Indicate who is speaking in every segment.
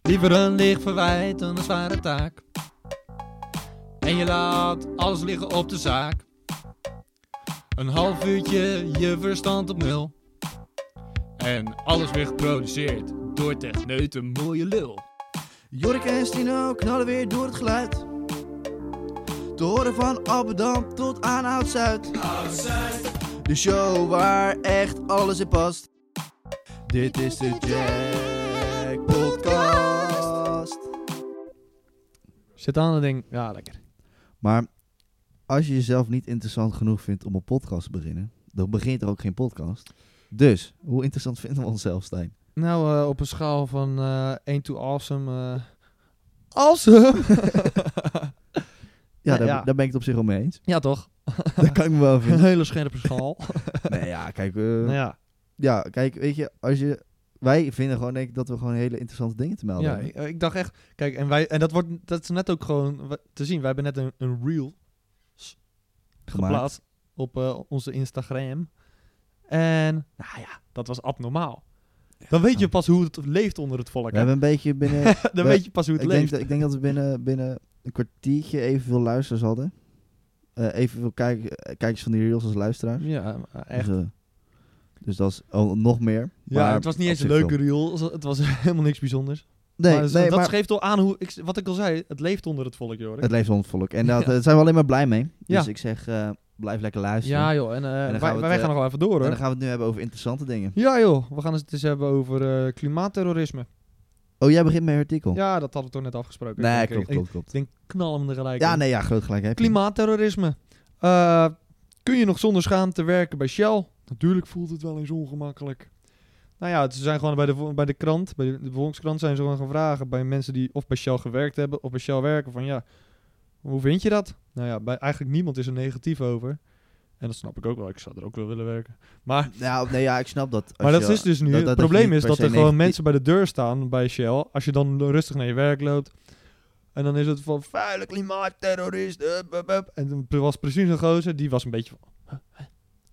Speaker 1: Liever een licht verwijt dan een zware taak. En je laat alles liggen op de zaak. Een half uurtje je verstand op nul. En alles weer geproduceerd door techneuten mooie lul.
Speaker 2: Jorik en Stino knallen weer door het geluid. Te horen van Abedam tot aan Oud-Zuid. De show waar echt alles in past. Dit is de Jack Podcast.
Speaker 1: Zit aan en ding, ja lekker.
Speaker 2: Maar als je jezelf niet interessant genoeg vindt om een podcast te beginnen, dan begint er ook geen podcast. Dus, hoe interessant vinden we onszelf, Stijn?
Speaker 1: Nou, eh, op een schaal van eh 1 to awesome. eh, awesome!
Speaker 2: Ja,
Speaker 1: Ja,
Speaker 2: daar,
Speaker 1: ja.
Speaker 2: daar ben ik het op zich al mee eens.
Speaker 1: ja, toch?
Speaker 2: Daar kan ik me wel
Speaker 1: Een
Speaker 2: vinden.
Speaker 1: hele scherpe schaal.
Speaker 2: Nee, ja, kijk, eh,
Speaker 1: nou ja,
Speaker 2: ja, kijk, weet je, als je... Wij vinden gewoon, denk ik, dat we gewoon hele interessante dingen te melden
Speaker 1: ja
Speaker 2: hebben.
Speaker 1: ik, eh, ik dacht echt. Kijk, en, wij, en dat, wordt, dat is net ook gewoon wa- te zien. Wij hebben net een, een reel
Speaker 2: Gemaakt.
Speaker 1: geplaatst op eh, onze Instagram. En nou ja, dat was abnormaal. Dan weet je pas hoe het leeft onder het volk.
Speaker 2: We
Speaker 1: hè?
Speaker 2: hebben een beetje binnen...
Speaker 1: Dan
Speaker 2: we-
Speaker 1: weet je pas hoe het
Speaker 2: ik,
Speaker 1: leeft.
Speaker 2: denk dat, ik denk dat we binnen, binnen een kwartiertje evenveel luisteraars hadden. Eh evenveel kijk, eh, kijkers van die reels als luisteraars.
Speaker 1: Ja, maar echt.
Speaker 2: Dus, eh, dus dat is al nog meer.
Speaker 1: Ja,
Speaker 2: maar
Speaker 1: het was niet
Speaker 2: op
Speaker 1: eens een
Speaker 2: zich
Speaker 1: leuke reel. Het was helemaal niks bijzonders.
Speaker 2: wel. Nee,
Speaker 1: maar,
Speaker 2: nee,
Speaker 1: dat
Speaker 2: maar
Speaker 1: geeft al aan hoe ik, wat ik al zei. Het leeft onder het volk, Jorik.
Speaker 2: het leeft onder het volk. En
Speaker 1: Ja.
Speaker 2: dat, daar zijn we alleen maar blij mee. Dus
Speaker 1: Ja.
Speaker 2: ik zeg, eh, blijf lekker luisteren.
Speaker 1: ja, joh. En, eh,
Speaker 2: dan gaan
Speaker 1: wij,
Speaker 2: we het,
Speaker 1: wij
Speaker 2: eh,
Speaker 1: gaan nog wel even door,
Speaker 2: en
Speaker 1: hoor.
Speaker 2: dan gaan we het nu hebben over interessante dingen.
Speaker 1: Ja, joh. We gaan het eens hebben over eh, klimaatterrorisme.
Speaker 2: Oh, jij begint met je artikel.
Speaker 1: Ja, dat hadden we toch net afgesproken.
Speaker 2: nee,
Speaker 1: Ik-
Speaker 2: klopt,
Speaker 1: ik-
Speaker 2: klopt,
Speaker 1: Ik
Speaker 2: klopt.
Speaker 1: denk, knal hem er gelijk
Speaker 2: Ja,
Speaker 1: in.
Speaker 2: nee, ja, groot gelijk heb je.
Speaker 1: Klimaatterrorisme. Eh, kun je nog zonder schaamte werken bij Shell? Natuurlijk voelt het wel eens ongemakkelijk. Nou ja, ze zijn gewoon bij de, vo- bij de krant, bij de, de Volkskrant zijn ze gewoon gaan vragen bij mensen die of bij Shell gewerkt hebben of bij Shell werken van ja, hoe vind je dat? Nou ja, bij eigenlijk niemand is er negatief over. En dat snap ik ook wel, ik zou er ook wel willen werken. Maar,
Speaker 2: Nou, nee, ja, ik snap dat. Als
Speaker 1: maar dat
Speaker 2: je-
Speaker 1: is dus nu,
Speaker 2: dat-
Speaker 1: het
Speaker 2: dat je
Speaker 1: probleem
Speaker 2: niet
Speaker 1: is
Speaker 2: per
Speaker 1: dat
Speaker 2: se
Speaker 1: er gewoon
Speaker 2: negatief-
Speaker 1: mensen bij de deur staan bij Shell. Als je dan rustig naar je werk loopt en dan is het van vuile klimaatterrorist. up, up, up. En er was precies een gozer, die was een beetje van... huh, huh?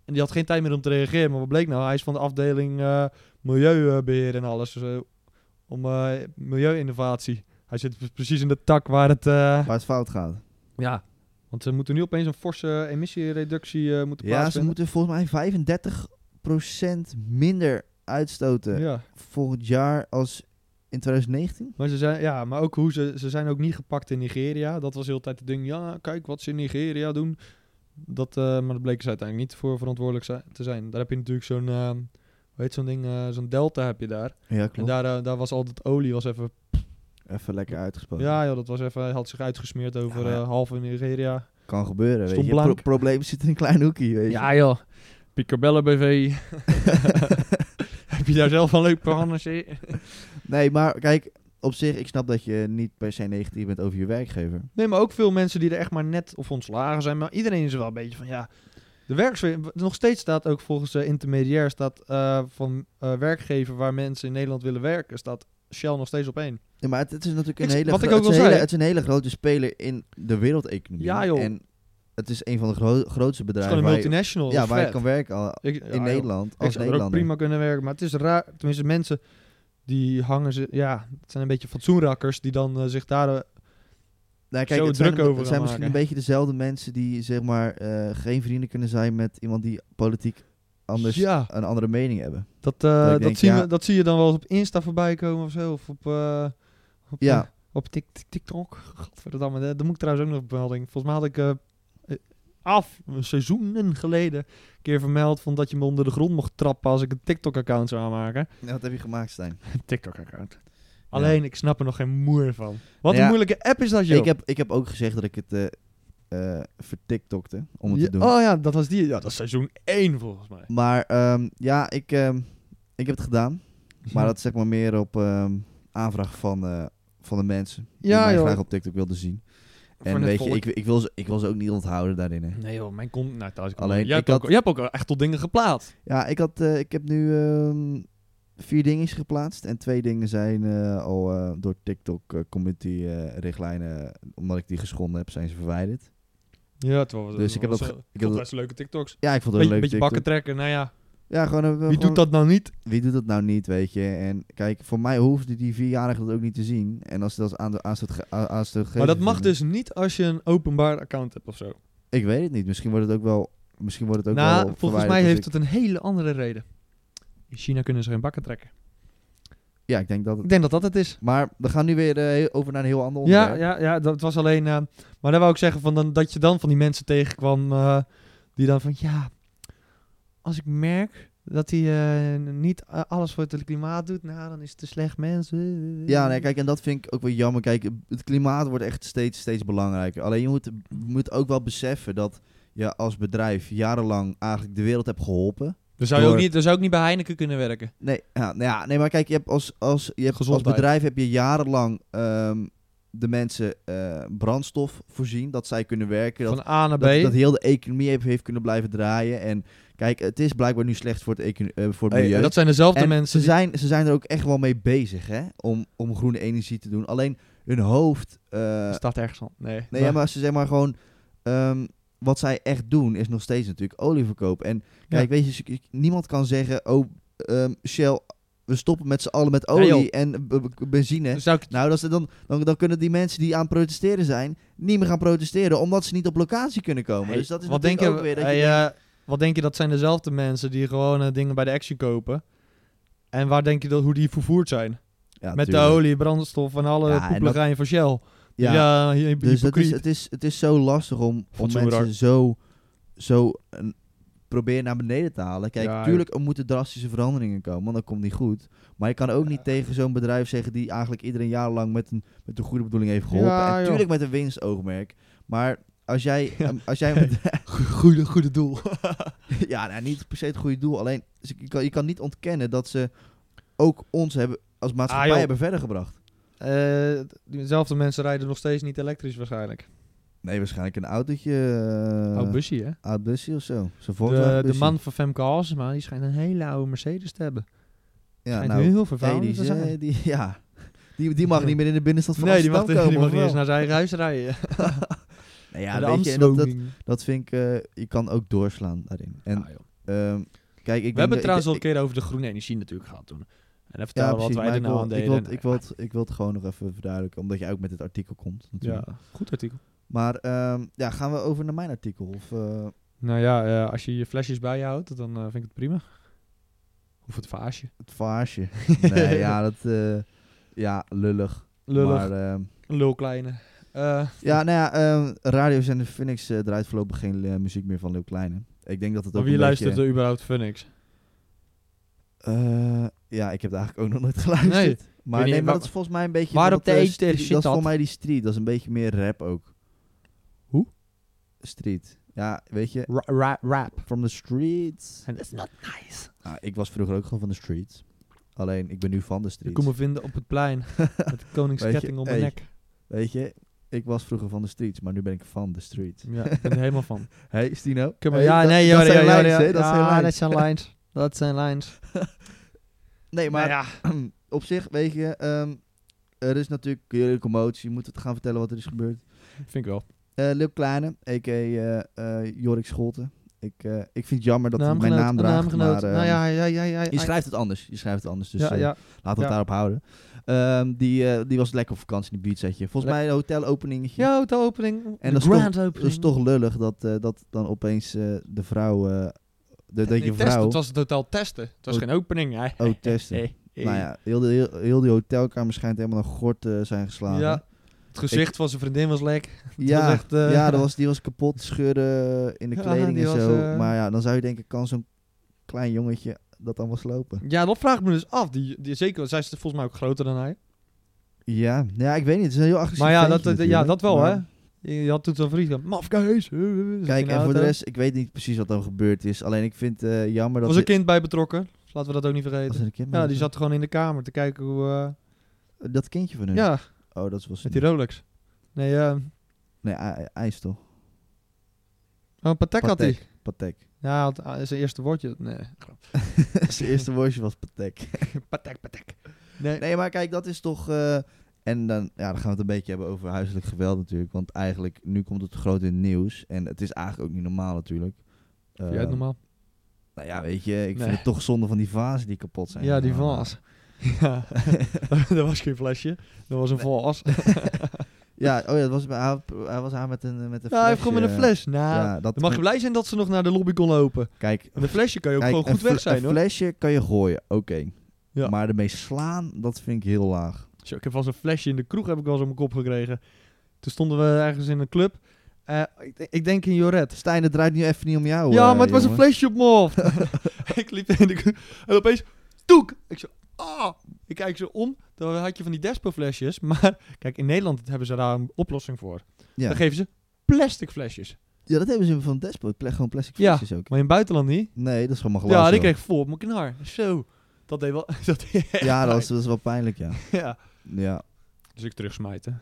Speaker 1: En die had geen tijd meer om te reageren. Maar wat bleek nou? Hij is van de afdeling eh, milieubeheer en alles. Dus, eh, om eh, milieuinnovatie. Hij zit pre- precies in de tak waar het... eh,
Speaker 2: Waar het fout gaat.
Speaker 1: ja. Want ze moeten nu opeens een forse emissiereductie eh, moeten
Speaker 2: Ja, ze
Speaker 1: plaatsvinden.
Speaker 2: moeten volgens mij 35% minder uitstoten
Speaker 1: Ja,
Speaker 2: volgend jaar als in 2019.
Speaker 1: maar, ze zijn, ja, maar ook hoe ze, ze zijn ook niet gepakt in Nigeria. Dat was heel de tijd het ding. Ja, kijk wat ze in Nigeria doen. Dat, eh, maar dat bleken ze uiteindelijk niet voor verantwoordelijk zi- te zijn. Daar heb je natuurlijk zo'n, eh, hoe heet zo'n ding, eh, zo'n delta heb je daar.
Speaker 2: Ja,
Speaker 1: En daar, eh, daar was al dat olie, was even,
Speaker 2: Even lekker uitgesproken.
Speaker 1: ja joh, dat was even, had zich uitgesmeerd over
Speaker 2: Ja,
Speaker 1: eh
Speaker 2: maar ja.
Speaker 1: half in Nigeria.
Speaker 2: Kan gebeuren, weet
Speaker 1: Stond
Speaker 2: je. Pro
Speaker 1: blank.
Speaker 2: probleem zit in een klein hoekje, weet je.
Speaker 1: joh, Picobello BV. heb je daar zelf een leuk programma in?
Speaker 2: Nee, maar kijk, op zich, ik snap dat je niet per se negatief bent over je werkgever.
Speaker 1: Nee, maar ook veel mensen die er echt maar net of ontslagen zijn. Maar iedereen is er wel een beetje van, ja... De werksfeer, w- nog steeds staat ook volgens eh, intermediair staat eh, van eh, werkgever waar mensen in Nederland willen werken, staat Shell nog steeds op één.
Speaker 2: Ja, maar het, het is natuurlijk
Speaker 1: Ik
Speaker 2: een
Speaker 1: s-
Speaker 2: hele,
Speaker 1: wat
Speaker 2: gro-
Speaker 1: ik ook
Speaker 2: het, is
Speaker 1: al
Speaker 2: een hele,
Speaker 1: zei.
Speaker 2: het is een hele grote speler in de wereldeconomie.
Speaker 1: Ja, joh.
Speaker 2: En het is een van de gro- grootste
Speaker 1: Het is
Speaker 2: bedrijven
Speaker 1: gewoon een
Speaker 2: waar je,
Speaker 1: multinational.
Speaker 2: ja,
Speaker 1: dat is
Speaker 2: waar je
Speaker 1: vet.
Speaker 2: kan werken al-
Speaker 1: Ik- ja,
Speaker 2: in
Speaker 1: joh.
Speaker 2: Nederland
Speaker 1: Ik zou er
Speaker 2: als
Speaker 1: ook
Speaker 2: Nederlander.
Speaker 1: prima kunnen werken, maar het is raar. Tenminste, mensen die hangen ze, ja, het zijn een beetje fatsoenrakkers die dan eh, zich daar eh,
Speaker 2: Nou, kijk,
Speaker 1: zo
Speaker 2: het
Speaker 1: druk
Speaker 2: zijn,
Speaker 1: over
Speaker 2: Het
Speaker 1: gaan
Speaker 2: zijn misschien
Speaker 1: maken.
Speaker 2: een beetje dezelfde mensen die zeg maar eh, geen vrienden kunnen zijn met iemand die politiek anders
Speaker 1: Ja.
Speaker 2: een andere mening hebben.
Speaker 1: Dat, eh,
Speaker 2: ik
Speaker 1: dat,
Speaker 2: denk,
Speaker 1: zien
Speaker 2: ja.
Speaker 1: we, dat zie je dan wel eens op Insta voorbij komen of zo. Of op, eh, op,
Speaker 2: Ja.
Speaker 1: eh, op tik, tik- TikTok. Godverdamme, daar daar moet ik trouwens ook nog op melding. Volgens mij had ik eh, eh, af, seizoenen geleden, een keer vermeld van dat je me onder de grond mocht trappen als ik een TikTok-account zou aanmaken.
Speaker 2: Nou, wat heb je gemaakt, Stijn?
Speaker 1: Een TikTok-account. Alleen, ik snap er nog geen moer van. Wat
Speaker 2: Ja.
Speaker 1: een moeilijke app is dat, joh.
Speaker 2: Ik heb, ik heb ook gezegd dat ik het eh eh, vertiktokte om het
Speaker 1: Ja,
Speaker 2: te doen.
Speaker 1: Oh ja, dat was die. Ja, dat is seizoen 1 volgens mij.
Speaker 2: Maar ehm, ja, ik, ehm, ik heb het gedaan. Maar dat is zeg maar meer op ehm, aanvraag van, eh, van de mensen die
Speaker 1: Ja,
Speaker 2: mij
Speaker 1: joh.
Speaker 2: graag op TikTok wilden zien. En
Speaker 1: het
Speaker 2: weet je,
Speaker 1: volk.
Speaker 2: ik, ik, wil ze, ik wil ze ook niet onthouden daarin. Hè.
Speaker 1: Nee joh, mijn kon... Nou, trouwens, ik
Speaker 2: Alleen,
Speaker 1: Alleen, jij,
Speaker 2: ik
Speaker 1: hebt ook,
Speaker 2: had-
Speaker 1: jij hebt ook echt tot dingen geplaatst.
Speaker 2: Ja, ik, had, eh, ik heb nu ehm, vier dingetjes geplaatst. En twee dingen zijn eh, al eh, door TikTok eh, community eh, richtlijnen, omdat ik die geschonden heb, zijn ze verwijderd.
Speaker 1: Ja, het was,
Speaker 2: Dus ik heb dat
Speaker 1: was,
Speaker 2: ge-
Speaker 1: eh,
Speaker 2: ik heb
Speaker 1: vond
Speaker 2: dat-
Speaker 1: best leuke TikToks.
Speaker 2: Ja, ik vond het
Speaker 1: Beetje,
Speaker 2: een leuk
Speaker 1: beetje bakken trekken, nou ja.
Speaker 2: Ja, gewoon een,
Speaker 1: Wie doet dat nou niet?
Speaker 2: Wie doet dat nou niet, weet je? En kijk, voor mij hoefde die vierjarige dat ook niet te zien. En als ze dat aan de aan het ge- aan- aan het gegeven
Speaker 1: Maar dat mag
Speaker 2: vinden-
Speaker 1: dus niet als je een openbaar account hebt of zo.
Speaker 2: Ik weet het niet. Misschien wordt het ook wel. Misschien wordt het ook wel.
Speaker 1: Nou, volgens
Speaker 2: verwijderd
Speaker 1: mij
Speaker 2: als
Speaker 1: heeft
Speaker 2: ik-
Speaker 1: het een hele andere reden. In China kunnen ze geen bakken trekken.
Speaker 2: Ja, ik denk dat.
Speaker 1: Ik
Speaker 2: Het...
Speaker 1: denk dat dat het is.
Speaker 2: Maar we gaan nu weer eh, heel- over naar een heel ander
Speaker 1: Ja,
Speaker 2: onderwerp.
Speaker 1: ja, ja, dat was alleen. eh, maar daar wou ik zeggen van dan, dat je dan van die mensen tegenkwam. eh, die dan van ja. Als ik merk dat hij eh, niet eh, alles voor het klimaat doet, nou dan is het een slecht mens.
Speaker 2: Ja,
Speaker 1: Mm.
Speaker 2: nee, kijk, en dat vind ik ook wel jammer. Kijk, het klimaat wordt echt steeds, steeds belangrijker. Alleen je moet, je moet ook wel beseffen dat je als bedrijf jarenlang eigenlijk de wereld hebt geholpen.
Speaker 1: Dan zou, je ook
Speaker 2: Door-
Speaker 1: niet, dan zou ik niet bij Heineken kunnen werken.
Speaker 2: Nee, ja, nou ja, nee maar kijk, je hebt als, als, je hebt als
Speaker 1: Gezondheid.
Speaker 2: bedrijf heb je jarenlang ehm, de mensen eh, brandstof voorzien, dat zij kunnen werken. Dat,
Speaker 1: Van A naar B.
Speaker 2: dat, dat heel de economie heeft, heeft kunnen blijven draaien. En kijk, het is blijkbaar nu slecht voor het, econo- eh, voor het
Speaker 1: Hey,
Speaker 2: milieu.
Speaker 1: en dat zijn dezelfde
Speaker 2: En
Speaker 1: mensen.
Speaker 2: Ze
Speaker 1: die-
Speaker 2: zijn, ze zijn er ook echt wel mee bezig, hè? Om, om groene energie te doen. Alleen hun hoofd. eh,
Speaker 1: staat ergens aan. Nee,
Speaker 2: nee, ja, maar ze zeg maar gewoon. ehm, wat zij echt doen is nog steeds natuurlijk olie verkopen. En kijk, weet je, niemand kan zeggen. Oh, ehm, Shell, we stoppen met z'n allen met
Speaker 1: Nee,
Speaker 2: olie
Speaker 1: joh. Dus-
Speaker 2: en b- b- benzine.
Speaker 1: dan zou ik
Speaker 2: Nou, dat is dan, dan, dan kunnen die mensen die aan het protesteren zijn. niet meer gaan protesteren. omdat ze niet op locatie kunnen komen.
Speaker 1: Hey,
Speaker 2: dus dat is
Speaker 1: wat denk
Speaker 2: natuurlijk
Speaker 1: je,
Speaker 2: ook weer. Dat je
Speaker 1: hey,
Speaker 2: denkt,
Speaker 1: eh, wat denk je dat zijn dezelfde mensen die gewoon eh, dingen bij de Action kopen? En waar denk je dat hoe die vervoerd zijn?
Speaker 2: ja,
Speaker 1: eh, Met
Speaker 2: tuurlijk.
Speaker 1: de olie, brandstof en alle
Speaker 2: Ja, en
Speaker 1: ja,
Speaker 2: dat-
Speaker 1: van Shell.
Speaker 2: Ja.
Speaker 1: Ja, ja hy-
Speaker 2: Dus het is,
Speaker 1: hypocriet.
Speaker 2: het, is, het is zo lastig om, om
Speaker 1: Fatsoen
Speaker 2: mensen
Speaker 1: raar.
Speaker 2: zo, zo een- probeer naar beneden te halen. Kijk,
Speaker 1: Ja,
Speaker 2: tuurlijk er moeten drastische veranderingen komen, want dat komt niet goed. Maar je kan ook niet tegen zo'n bedrijf zeggen die eigenlijk iedereen jarenlang met een, met een goede bedoeling heeft geholpen.
Speaker 1: Ja,
Speaker 2: en
Speaker 1: joh.
Speaker 2: tuurlijk met een winstoogmerk. Maar als jij,
Speaker 1: Ja.
Speaker 2: als jij een bedrijf-
Speaker 1: goede, goede doel.
Speaker 2: ja, nou, niet per se het goede doel. Alleen ze- je kan, je kan niet ontkennen dat ze ook ons hebben als maatschappij
Speaker 1: Ah, joh.
Speaker 2: hebben verder gebracht.
Speaker 1: Eh, dezelfde mensen rijden nog steeds niet elektrisch waarschijnlijk.
Speaker 2: Nee, waarschijnlijk een autootje. eh,
Speaker 1: Oud busje, hè?
Speaker 2: oud busje of zo. Zo'n
Speaker 1: De,
Speaker 2: Volkswagen
Speaker 1: de
Speaker 2: busje.
Speaker 1: man van Femke Halsema, die schijnt een hele oude Mercedes te hebben.
Speaker 2: Ja,
Speaker 1: schijnt
Speaker 2: nou,
Speaker 1: heel
Speaker 2: Hey,
Speaker 1: vervuilend
Speaker 2: die,
Speaker 1: te
Speaker 2: is,
Speaker 1: zijn.
Speaker 2: eh, die, ja. die, die mag niet meer in de binnenstad van
Speaker 1: nee, die mag,
Speaker 2: Amsterdam
Speaker 1: die
Speaker 2: komen.
Speaker 1: mag niet eens
Speaker 2: of wel?
Speaker 1: naar zijn eigen huis rijden.
Speaker 2: Nou ja,
Speaker 1: Naar de
Speaker 2: weet je, en dat, dat,
Speaker 1: Amstwoning.
Speaker 2: dat vind ik, eh, je kan ook doorslaan daarin. En,
Speaker 1: Ah, joh.
Speaker 2: ehm, kijk, ik
Speaker 1: We hebben
Speaker 2: denk
Speaker 1: het
Speaker 2: dat-
Speaker 1: trouwens al een
Speaker 2: ik- ik-
Speaker 1: keer over de groene energie natuurlijk gehad toen. En even
Speaker 2: ja,
Speaker 1: vertellen
Speaker 2: precies,
Speaker 1: wat
Speaker 2: maar
Speaker 1: wij er
Speaker 2: ik
Speaker 1: nou
Speaker 2: wil-
Speaker 1: aan
Speaker 2: ik
Speaker 1: deden.
Speaker 2: wil,
Speaker 1: En,
Speaker 2: ik, wil, het- ik wil het gewoon nog even verduidelijken, omdat jij ook met dit artikel komt.
Speaker 1: ja,
Speaker 2: Natuurlijk.
Speaker 1: goed artikel.
Speaker 2: Maar ehm, ja, gaan we over naar mijn artikel? Of, eh,
Speaker 1: Nou ja, eh, als je je flesjes bij je houdt, dan eh, vind ik het prima. Of het vaasje.
Speaker 2: het vaasje? nee, ja, dat, eh, ja, lullig.
Speaker 1: Lullig.
Speaker 2: Maar, ehm,
Speaker 1: Een lulkleine. Eh,
Speaker 2: ja, nou ja, ehm radio zijn de Phoenix eh, draait voorlopig geen eh, muziek meer van Leeuw Kleine. Ik denk dat het ook
Speaker 1: maar wie
Speaker 2: een beetje-
Speaker 1: luistert er überhaupt voor niks?
Speaker 2: Eh, ja, ik heb het eigenlijk ook nog nooit geluisterd.
Speaker 1: Nee,
Speaker 2: maar,
Speaker 1: weet
Speaker 2: nee,
Speaker 1: niet,
Speaker 2: maar
Speaker 1: wa-
Speaker 2: dat is volgens mij een beetje...
Speaker 1: waarop
Speaker 2: van dat,
Speaker 1: de
Speaker 2: eh,
Speaker 1: eet tegen
Speaker 2: street-
Speaker 1: shit
Speaker 2: Dat is
Speaker 1: had.
Speaker 2: voor mij die street. Dat is een beetje meer rap ook.
Speaker 1: Hoe?
Speaker 2: Street. Ja, weet je...
Speaker 1: Ra- ra- rap.
Speaker 2: From the streets.
Speaker 1: En dat is not nice.
Speaker 2: Ah, ik was vroeger ook gewoon van de streets. Alleen, ik ben nu van de
Speaker 1: Je
Speaker 2: streets.
Speaker 1: kon me vinden op het plein. Met de koningsketting om mijn
Speaker 2: hey.
Speaker 1: nek.
Speaker 2: Weet je... Ik was vroeger van de streets, maar nu ben ik van de streets.
Speaker 1: Ja, ik ben er helemaal van.
Speaker 2: Hey, Stino.
Speaker 1: Hm. Kom maar,
Speaker 2: Hey,
Speaker 1: ja,
Speaker 2: dat-
Speaker 1: nee,
Speaker 2: dat
Speaker 1: joh, joh,
Speaker 2: zijn
Speaker 1: joh,
Speaker 2: lijns,
Speaker 1: joh.
Speaker 2: hè? Dat zijn
Speaker 1: Ja,
Speaker 2: lijns.
Speaker 1: dat zijn lines. Dat zijn lines.
Speaker 2: Nee, maar
Speaker 1: Nou ja,
Speaker 2: op zich, weet je... ehm, er is natuurlijk jullie commotie. Moeten we het gaan vertellen wat er is gebeurd?
Speaker 1: vind ik wel.
Speaker 2: Eh Lil Kleine, a.k.a. eh, eh, Jorik Scholten. Ik, eh, ik vind het jammer dat hij mijn naam draagt.
Speaker 1: naamgenoot.
Speaker 2: maar, eh,
Speaker 1: nou ja, ja, ja, ja.
Speaker 2: Je
Speaker 1: ja.
Speaker 2: schrijft het anders. Je schrijft het anders, dus
Speaker 1: ja,
Speaker 2: eh,
Speaker 1: ja.
Speaker 2: laten we het
Speaker 1: Ja.
Speaker 2: daarop houden. Ehm, die, eh, die was lekker op vakantie in de buurt, zeg je. Volgens
Speaker 1: Le-
Speaker 2: mij een hotelopeningetje.
Speaker 1: Ja, de opening.
Speaker 2: En
Speaker 1: En
Speaker 2: dat
Speaker 1: de
Speaker 2: is toch-
Speaker 1: grand
Speaker 2: Dat is
Speaker 1: opening.
Speaker 2: toch lullig dat, eh, dat dan opeens eh, de vrouw... eh, de, dat je
Speaker 1: Nee, testen.
Speaker 2: vrouw...
Speaker 1: Het was het totaal testen. Het was
Speaker 2: Oh.
Speaker 1: geen opening. hè.
Speaker 2: Oh, testen.
Speaker 1: Hey, hey.
Speaker 2: Nou ja, heel, de- heel, heel die hotelkamer schijnt helemaal naar gort eh, zijn geslagen.
Speaker 1: Ja, het gezicht van zijn vriendin was lek. Het
Speaker 2: Ja,
Speaker 1: was echt, eh,
Speaker 2: ja, dat was, die was kapot, scheurde in de
Speaker 1: Ja,
Speaker 2: kleding
Speaker 1: die
Speaker 2: en
Speaker 1: was,
Speaker 2: zo.
Speaker 1: eh,
Speaker 2: Maar ja, dan zou je denken, kan zo'n klein jongetje dat dan wel slopen?
Speaker 1: ja, dat vraag ik me dus af. Die, die, zeker, zij is volgens mij ook groter dan hij.
Speaker 2: Ja, nou ja, ik weet niet. Het is een heel agressief
Speaker 1: Maar ja, dat,
Speaker 2: ventje
Speaker 1: dat- ja,
Speaker 2: natuurlijk,
Speaker 1: dat wel,
Speaker 2: maar-
Speaker 1: hè. Je, je had toen zo'n vriend. Mafkees.
Speaker 2: Kijk, en voor de rest, ik weet niet precies wat er gebeurd is. Alleen ik vind het jammer
Speaker 1: Er
Speaker 2: dat...
Speaker 1: was een
Speaker 2: dit-
Speaker 1: kind bij betrokken. Dus Laten we dat ook niet
Speaker 2: was
Speaker 1: vergeten.
Speaker 2: er een kind bij
Speaker 1: Ja, die
Speaker 2: betrokken?
Speaker 1: zat gewoon in de kamer te kijken hoe... eh,
Speaker 2: Dat kindje van hun?
Speaker 1: ja,
Speaker 2: Oh, dat was...
Speaker 1: met die Rolex. Nee, eh,
Speaker 2: Nee, I- I- IJs toch?
Speaker 1: oh, Patek had hij.
Speaker 2: Patek.
Speaker 1: Ja, hij had, ah, zijn eerste woordje. Nee, grap.
Speaker 2: Zijn eerste woordje was Patek.
Speaker 1: Patek, Patek. Nee,
Speaker 2: Nee, maar kijk, dat is toch... eh, en dan, ja, dan gaan we het een beetje hebben over huiselijk geweld natuurlijk. Want eigenlijk, nu komt het groot in het nieuws. En het is eigenlijk ook niet normaal natuurlijk.
Speaker 1: Vind jij het
Speaker 2: Eh,
Speaker 1: normaal?
Speaker 2: Nou ja, weet je, ik vind
Speaker 1: Nee.
Speaker 2: het toch zonde van die vazen die kapot zijn. eh,
Speaker 1: Ja, die
Speaker 2: gegaan.
Speaker 1: vaas. Ja, dat was geen flesje. Dat was een vaas.
Speaker 2: Ja, oh ja, dat was, bij- hij, hij was aan met een, eh, met een
Speaker 1: Nou, hij heeft gewoon met een
Speaker 2: flesje.
Speaker 1: fles. Nou,
Speaker 2: Ja, dat
Speaker 1: dan mag je blij zijn dat ze nog naar de lobby kon lopen.
Speaker 2: Kijk,
Speaker 1: Met een flesje kan je ook
Speaker 2: kijk,
Speaker 1: gewoon goed
Speaker 2: een fle-
Speaker 1: weg zijn,
Speaker 2: Een
Speaker 1: hoor.
Speaker 2: flesje kan je gooien, oké.
Speaker 1: Ja.
Speaker 2: Maar ermee slaan, dat vind ik heel laag.
Speaker 1: Zo, ik heb vast een flesje in de kroeg heb ik wel eens op mijn kop gekregen. Toen stonden we ergens in een club. Eh, ik, de- ik denk in Joret.
Speaker 2: Stijn, het draait nu even niet om jou.
Speaker 1: ja,
Speaker 2: eh,
Speaker 1: maar het was een
Speaker 2: jongen.
Speaker 1: flesje op mijn hoofd. ik liep in de kroeg en opeens, toek! Ik zo, ah! Ik kijk zo om. Dan had je van die Despo-flesjes. Maar kijk, in Nederland hebben ze daar een oplossing voor. Dan
Speaker 2: Ja.
Speaker 1: geven ze plastic flesjes.
Speaker 2: ja, dat hebben ze van Despot. Ple gewoon plastic
Speaker 1: Ja.
Speaker 2: flesjes ook.
Speaker 1: Maar in het buitenland niet.
Speaker 2: Nee, dat is gewoon maar glas.
Speaker 1: Ja, die
Speaker 2: joh.
Speaker 1: kreeg vol op mijn knar. Zo. Dat deed wel... Dat deed echt
Speaker 2: Ja, dat was,
Speaker 1: pijn.
Speaker 2: dat was wel pijnlijk, ja.
Speaker 1: Ja.
Speaker 2: ja.
Speaker 1: Dus ik terugsmijten.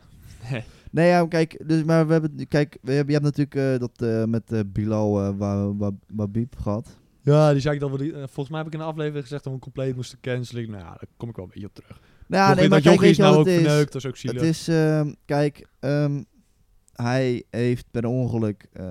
Speaker 2: Nee, ja, kijk, dus, maar we hebben, kijk, we hebben, je hebt natuurlijk eh, dat eh, met eh, Bilal eh, Wa- Wa- Wabib gehad. Nou
Speaker 1: Ja, die zei ik dat we... die- eh, volgens mij heb ik in de aflevering gezegd dat we compleet moesten cancelen. Nou, ja, daar kom ik wel een beetje op terug.
Speaker 2: Nou,
Speaker 1: Nog weer dat
Speaker 2: kijk,
Speaker 1: jochie
Speaker 2: weet
Speaker 1: is
Speaker 2: je wat
Speaker 1: nou ook
Speaker 2: het is?
Speaker 1: verneukt. Dat is ook zielig.
Speaker 2: Het is, ehm, kijk, ehm, hij heeft per ongeluk. eh,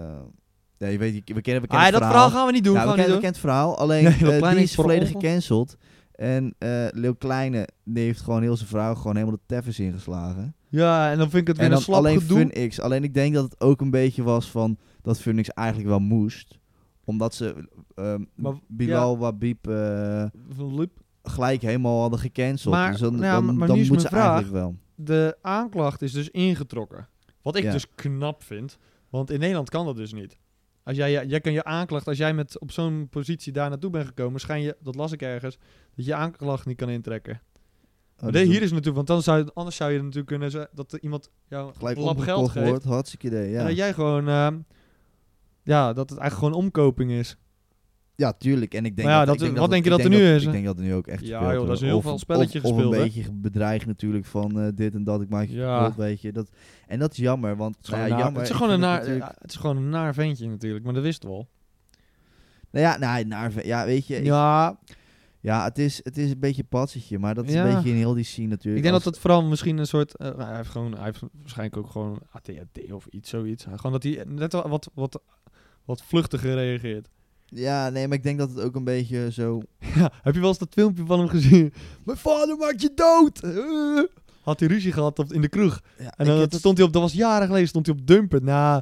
Speaker 2: ja, je weet, je- we kennen, we kennen
Speaker 1: Ah,
Speaker 2: het
Speaker 1: dat verhaal gaan we niet doen.
Speaker 2: Ja, Nou, we,
Speaker 1: gaan we
Speaker 2: kennen, we
Speaker 1: niet
Speaker 2: kennen het verhaal. Alleen
Speaker 1: Nee, Lil
Speaker 2: eh,
Speaker 1: Kleine
Speaker 2: die
Speaker 1: is
Speaker 2: is
Speaker 1: per
Speaker 2: volledig
Speaker 1: ongeluk.
Speaker 2: gecanceld. En eh Leeuw Kleine die heeft gewoon heel zijn vrouw gewoon helemaal de teffers ingeslagen.
Speaker 1: doen. Ja, en dan vind ik het weer
Speaker 2: En
Speaker 1: een
Speaker 2: dan
Speaker 1: slap
Speaker 2: alleen
Speaker 1: gedoe.
Speaker 2: Funix. Alleen ik denk dat het ook een beetje was van dat Funix eigenlijk wel moest. Omdat ze ehm
Speaker 1: Maar-
Speaker 2: Bilal Wabib eh,
Speaker 1: Van Lup.
Speaker 2: gelijk helemaal hadden gecanceld.
Speaker 1: Maar-
Speaker 2: dus dan,
Speaker 1: nou ja,
Speaker 2: dan,
Speaker 1: maar- maar
Speaker 2: dan
Speaker 1: nu is
Speaker 2: moet ze
Speaker 1: mijn vraag.
Speaker 2: eigenlijk wel. Oh,
Speaker 1: De aanklacht is dus ingetrokken. Wat ik
Speaker 2: Ja.
Speaker 1: dus knap vind. Want in Nederland kan dat dus niet. Als jij, jij, jij kan je aanklacht, als jij met, op zo'n positie daar naartoe bent gekomen, schijn je, dat las ik ergens, dat je aanklacht niet kan intrekken.
Speaker 2: Oh,
Speaker 1: Maar
Speaker 2: dus
Speaker 1: nee, hier is natuurlijk, want dan zou, anders zou je natuurlijk kunnen zeggen dat er iemand jou
Speaker 2: gelijk
Speaker 1: een lap geld
Speaker 2: opgekocht
Speaker 1: geeft.
Speaker 2: wordt. Hartstikke idee, ja.
Speaker 1: En dat jij gewoon, eh, ja, dat het eigenlijk gewoon omkoping is.
Speaker 2: Ja, tuurlijk. En ik denk
Speaker 1: Maar Nou ja,
Speaker 2: dat,
Speaker 1: dat-
Speaker 2: ik denk
Speaker 1: wat denk je
Speaker 2: ik
Speaker 1: dat er nu is,
Speaker 2: Ik
Speaker 1: hè?
Speaker 2: denk dat er nu ook echt
Speaker 1: Ja,
Speaker 2: gespeeld
Speaker 1: joh, dat
Speaker 2: wordt.
Speaker 1: is heel
Speaker 2: Of-
Speaker 1: veel spelletje
Speaker 2: of, of
Speaker 1: gespeeld,
Speaker 2: een
Speaker 1: hè?
Speaker 2: beetje ge- bedreig natuurlijk van eh, dit en dat. Ik maak je
Speaker 1: Ja.
Speaker 2: kapot, weet je. Dat, en dat is jammer, want
Speaker 1: Het is gewoon
Speaker 2: nou ja,
Speaker 1: een naar-
Speaker 2: jammer.
Speaker 1: het, is
Speaker 2: ik
Speaker 1: gewoon een
Speaker 2: vind
Speaker 1: naar,
Speaker 2: het natuurlijk-
Speaker 1: ja, het is gewoon een naar ventje natuurlijk, maar dat wist het wel.
Speaker 2: Nou ja, nou, naar, ja, weet je. ik- Ja,
Speaker 1: Ja,
Speaker 2: het, is, het is een beetje patsetje, maar dat is
Speaker 1: Ja.
Speaker 2: een beetje in heel die scene natuurlijk.
Speaker 1: ik denk dat
Speaker 2: Als-
Speaker 1: dat vooral misschien een soort, eh, hij, heeft gewoon, hij heeft waarschijnlijk ook gewoon ATHD of iets, zoiets. Gewoon dat hij net wel wat, wat, wat vluchtiger reageert.
Speaker 2: Ja, nee, maar ik denk dat het ook een beetje zo...
Speaker 1: Ja, heb je wel eens dat filmpje van hem gezien? Mijn vader maakt je dood! Eh. Had hij ruzie gehad op, in de kroeg.
Speaker 2: Ja,
Speaker 1: En
Speaker 2: ik
Speaker 1: dan
Speaker 2: heb
Speaker 1: stond hij op, dat was jaren geleden, stond hij op Dumpen. Nou,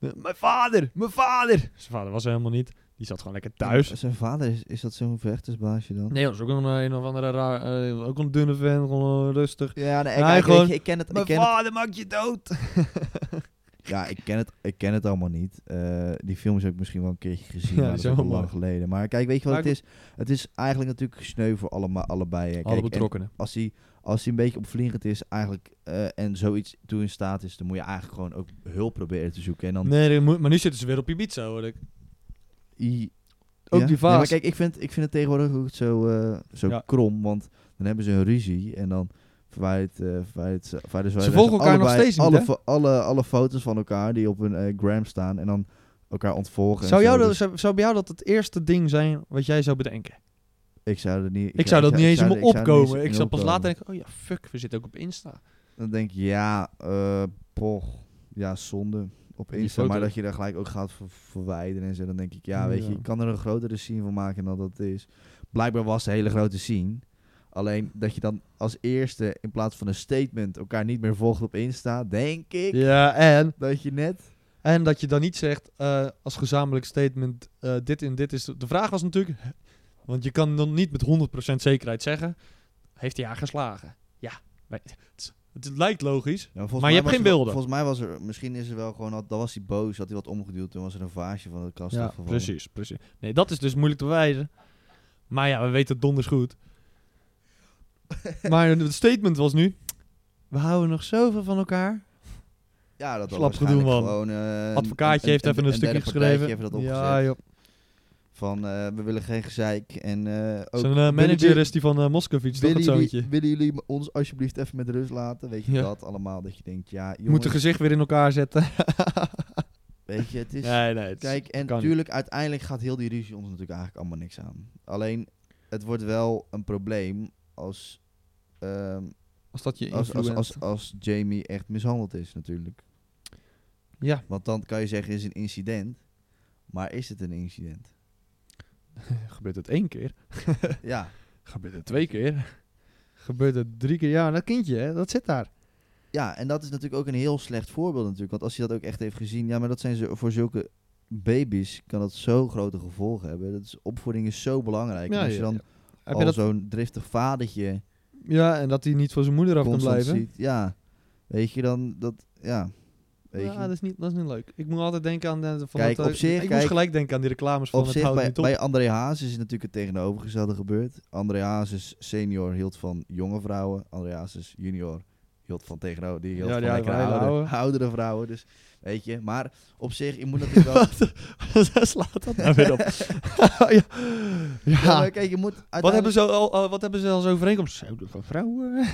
Speaker 1: eh, mijn vader, mijn vader! Zijn vader was er helemaal niet. Die zat gewoon lekker thuis.
Speaker 2: Zijn vader, is, is dat zo'n vechtersbaasje dan?
Speaker 1: Nee, dat was ook een, eh, een of andere raar, eh, ook een dunne vent, gewoon eh, rustig.
Speaker 2: Ja, nee,
Speaker 1: Nee,
Speaker 2: kijk, weet
Speaker 1: gewoon,
Speaker 2: je, ik ken het. Ik
Speaker 1: Mijn
Speaker 2: ken het
Speaker 1: vader maakt je dood!
Speaker 2: Ja, ik ken het, ik ken het allemaal niet. Eh, die films heb ik misschien wel een keertje gezien,
Speaker 1: Ja,
Speaker 2: maar dat
Speaker 1: die
Speaker 2: is ook
Speaker 1: zijn
Speaker 2: al
Speaker 1: wel
Speaker 2: lang geleden. Maar kijk, weet je wat
Speaker 1: Maar
Speaker 2: het is? Het is eigenlijk natuurlijk sneu voor allemaal, allebei. hè. Kijk,
Speaker 1: Alle
Speaker 2: en
Speaker 1: betrokkenen.
Speaker 2: als hij als hij een beetje opvliegend is eigenlijk eh, en zoiets toe in staat is, dan moet je eigenlijk gewoon ook hulp proberen te zoeken. En dan
Speaker 1: Nee, dat moet- maar nu zitten ze weer op Ibiza, hoor ik.
Speaker 2: I-
Speaker 1: Ook
Speaker 2: Ja?
Speaker 1: die
Speaker 2: Nee, maar
Speaker 1: vaas.
Speaker 2: kijk, ik vind, ik vind het tegenwoordig ook zo, eh, zo
Speaker 1: Ja.
Speaker 2: krom, want dan hebben ze een ruzie en dan verwijt, eh verwijt, ze- verwijten ze
Speaker 1: volgen elkaar nog
Speaker 2: allebei
Speaker 1: steeds niet,
Speaker 2: alle,
Speaker 1: hè?
Speaker 2: fo- alle, alle foto's van elkaar die op hun eh, gram staan en dan elkaar ontvolgen. en
Speaker 1: zou,
Speaker 2: zo.
Speaker 1: jou dat,
Speaker 2: Dus
Speaker 1: zou, zou bij jou dat het eerste ding zijn wat jij zou bedenken?
Speaker 2: ik zou er niet...
Speaker 1: Ik zou dat niet eens in
Speaker 2: zou-
Speaker 1: me
Speaker 2: ik zou er niet
Speaker 1: opkomen.
Speaker 2: eens
Speaker 1: Ik
Speaker 2: in
Speaker 1: zou pas
Speaker 2: opkomen.
Speaker 1: later denken, oh ja, fuck, we zitten ook op Insta.
Speaker 2: Dan denk je, ja, eh poch, ja, zonde op
Speaker 1: Die
Speaker 2: Insta.
Speaker 1: foto.
Speaker 2: Maar dat je daar gelijk ook gaat ver- verwijderen en zo. Dan denk ik, ja, weet
Speaker 1: Ja.
Speaker 2: je, je kan er een grotere scene van maken dan dat het is. Blijkbaar was de hele grote scene. Alleen dat je dan als eerste, in plaats van een statement, elkaar niet meer volgt op Insta, denk ik.
Speaker 1: Ja, en,
Speaker 2: Dat je net...
Speaker 1: en dat je dan niet zegt eh, als gezamenlijk statement eh, dit en dit is... De vraag was natuurlijk, want je kan dan niet met 100% zekerheid zeggen, heeft hij haar geslagen? Ja, maar het, is- het lijkt logisch.
Speaker 2: Ja, volgens
Speaker 1: Maar je
Speaker 2: mij
Speaker 1: hebt
Speaker 2: was
Speaker 1: geen
Speaker 2: er wel-
Speaker 1: beelden.
Speaker 2: Volgens mij was er, misschien is er wel gewoon, dat was hij boos, had hij wat omgeduwd, toen was er een vaasje van de kast
Speaker 1: Ja,
Speaker 2: afgevallen.
Speaker 1: precies, precies. Nee, dat is dus moeilijk te bewijzen. Maar ja, we weten het donders goed. maar het statement was nu, we houden nog zoveel van elkaar.
Speaker 2: Ja, dat was
Speaker 1: Slap gedoe,
Speaker 2: waarschijnlijk
Speaker 1: man.
Speaker 2: gewoon... eh, een-
Speaker 1: Advocaatje heeft even een, stukje
Speaker 2: derde partijtje
Speaker 1: geschreven.
Speaker 2: heeft dat opgezet.
Speaker 1: ja, joh.
Speaker 2: Van eh, we willen geen gezeik. En eh, ook
Speaker 1: Zijn eh,
Speaker 2: willen
Speaker 1: manager
Speaker 2: jullie-
Speaker 1: is die van eh Moskovits, toch
Speaker 2: willen
Speaker 1: het
Speaker 2: jullie,
Speaker 1: zoontje?
Speaker 2: willen jullie me- ons alsjeblieft even met rust laten? Weet je
Speaker 1: Ja.
Speaker 2: dat allemaal? Dat je denkt, ja,
Speaker 1: Moet
Speaker 2: jongens,
Speaker 1: de gezicht weer in elkaar zetten.
Speaker 2: weet je, het is.
Speaker 1: nee, nee. het is-
Speaker 2: kijk, en
Speaker 1: kan niet.
Speaker 2: natuurlijk, uiteindelijk gaat heel die ruzie ons natuurlijk eigenlijk allemaal niks aan. Alleen, het wordt wel een probleem als, ehm,
Speaker 1: Als dat je
Speaker 2: als, als,
Speaker 1: influent-
Speaker 2: als, als Jamie echt mishandeld is, natuurlijk.
Speaker 1: Ja,
Speaker 2: Want dan kan je zeggen, is een incident. Maar is het een incident?
Speaker 1: Gebeurt het één keer?
Speaker 2: Ja.
Speaker 1: Gebeurt het twee keer? Gebeurt het drie keer? Ja, dat kindje, hè, dat zit daar.
Speaker 2: ja, en dat is natuurlijk ook een heel slecht voorbeeld natuurlijk. Want als je dat ook echt heeft gezien, ja, maar dat zijn ze voor zulke baby's kan dat zo grote gevolgen hebben. Dat is, opvoeding is zo belangrijk.
Speaker 1: Ja,
Speaker 2: en als je
Speaker 1: ja,
Speaker 2: dan
Speaker 1: ja. Heb je
Speaker 2: al
Speaker 1: dat,
Speaker 2: zo'n driftig vadertje
Speaker 1: ja, en dat hij niet van zijn moeder af kan
Speaker 2: constant
Speaker 1: blijven.
Speaker 2: ziet, ja, weet je dan dat, ja, weet
Speaker 1: Ja,
Speaker 2: je.
Speaker 1: dat is, niet, dat is niet leuk. Ik moet altijd denken aan... De, van
Speaker 2: Kijk,
Speaker 1: dat, eh,
Speaker 2: op zich,
Speaker 1: ik
Speaker 2: kijk,
Speaker 1: moest gelijk denken aan die reclames van
Speaker 2: Op
Speaker 1: het
Speaker 2: zich,
Speaker 1: houdt
Speaker 2: bij,
Speaker 1: niet op.
Speaker 2: bij André Hazes is natuurlijk het tegenovergestelde gebeurd. André Hazes senior hield van jonge vrouwen. André Hazes junior hield van tegenover... Die hield
Speaker 1: Ja,
Speaker 2: van
Speaker 1: die
Speaker 2: lekker
Speaker 1: oude-
Speaker 2: oudere,
Speaker 1: oude.
Speaker 2: oudere vrouwen. Dus, weet je. Maar op zich, je moet natuurlijk wel...
Speaker 1: Wat slaat dat nou weer op? ja.
Speaker 2: Ja, maar
Speaker 1: ja.
Speaker 2: kijk, je moet
Speaker 1: Wat hebben,
Speaker 2: uiteindelijk...
Speaker 1: ze al, al- wat hebben ze als overeenkomst? Zo, dat van vrouwen.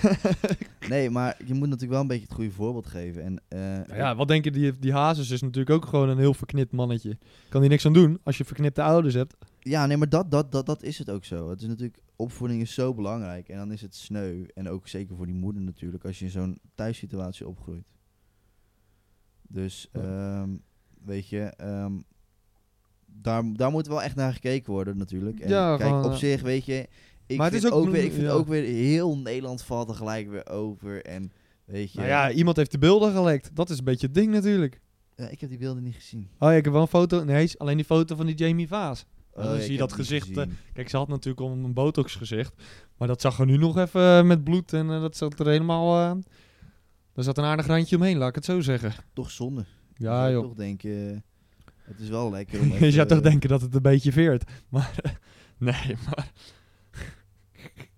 Speaker 2: Nee, maar je moet natuurlijk wel een beetje het goede voorbeeld geven. En, eh,
Speaker 1: Nou ja, wat denk je? Die, die Hazes is natuurlijk ook gewoon een heel verknipt mannetje. Kan die niks aan doen als je verknipte ouders hebt.
Speaker 2: Ja, nee, maar dat, dat, dat, dat is het ook zo. Het is natuurlijk, opvoeding is zo belangrijk. En dan is het sneu. En ook zeker voor die moeder natuurlijk, als je in zo'n thuissituatie opgroeit. Dus,
Speaker 1: Ja.
Speaker 2: ehm, weet je, ehm, daar, daar moet wel echt naar gekeken worden natuurlijk. En
Speaker 1: Ja,
Speaker 2: kijk,
Speaker 1: gewoon,
Speaker 2: op
Speaker 1: eh,
Speaker 2: zich, weet je, ik
Speaker 1: maar het
Speaker 2: vind,
Speaker 1: is ook
Speaker 2: ook, weer, ik
Speaker 1: een-
Speaker 2: vind
Speaker 1: ja.
Speaker 2: ook weer heel Nederland valt er gelijk weer over. En, weet je,
Speaker 1: Nou ja, iemand heeft de beelden gelekt. Dat is een beetje het ding natuurlijk.
Speaker 2: eh, ik heb die beelden niet gezien.
Speaker 1: Oh ja, ik heb wel een foto. Nee, is alleen die foto van die Jamie Vaas. dan
Speaker 2: Oh,
Speaker 1: zie je
Speaker 2: ik heb
Speaker 1: dat
Speaker 2: die niet
Speaker 1: gezicht, eh,
Speaker 2: gezien.
Speaker 1: Kijk, ze had natuurlijk al een botox gezicht. Maar dat zag er nu nog even eh, met bloed. En eh, dat zat er helemaal... eh er zat een aardig randje omheen, laat ik het zo zeggen.
Speaker 2: Toch zonde. Je
Speaker 1: Ja
Speaker 2: zou
Speaker 1: joh.
Speaker 2: toch denken, eh, het is wel lekker om
Speaker 1: Je zou
Speaker 2: even-
Speaker 1: toch denken dat het een beetje veert. Maar eh, nee, maar...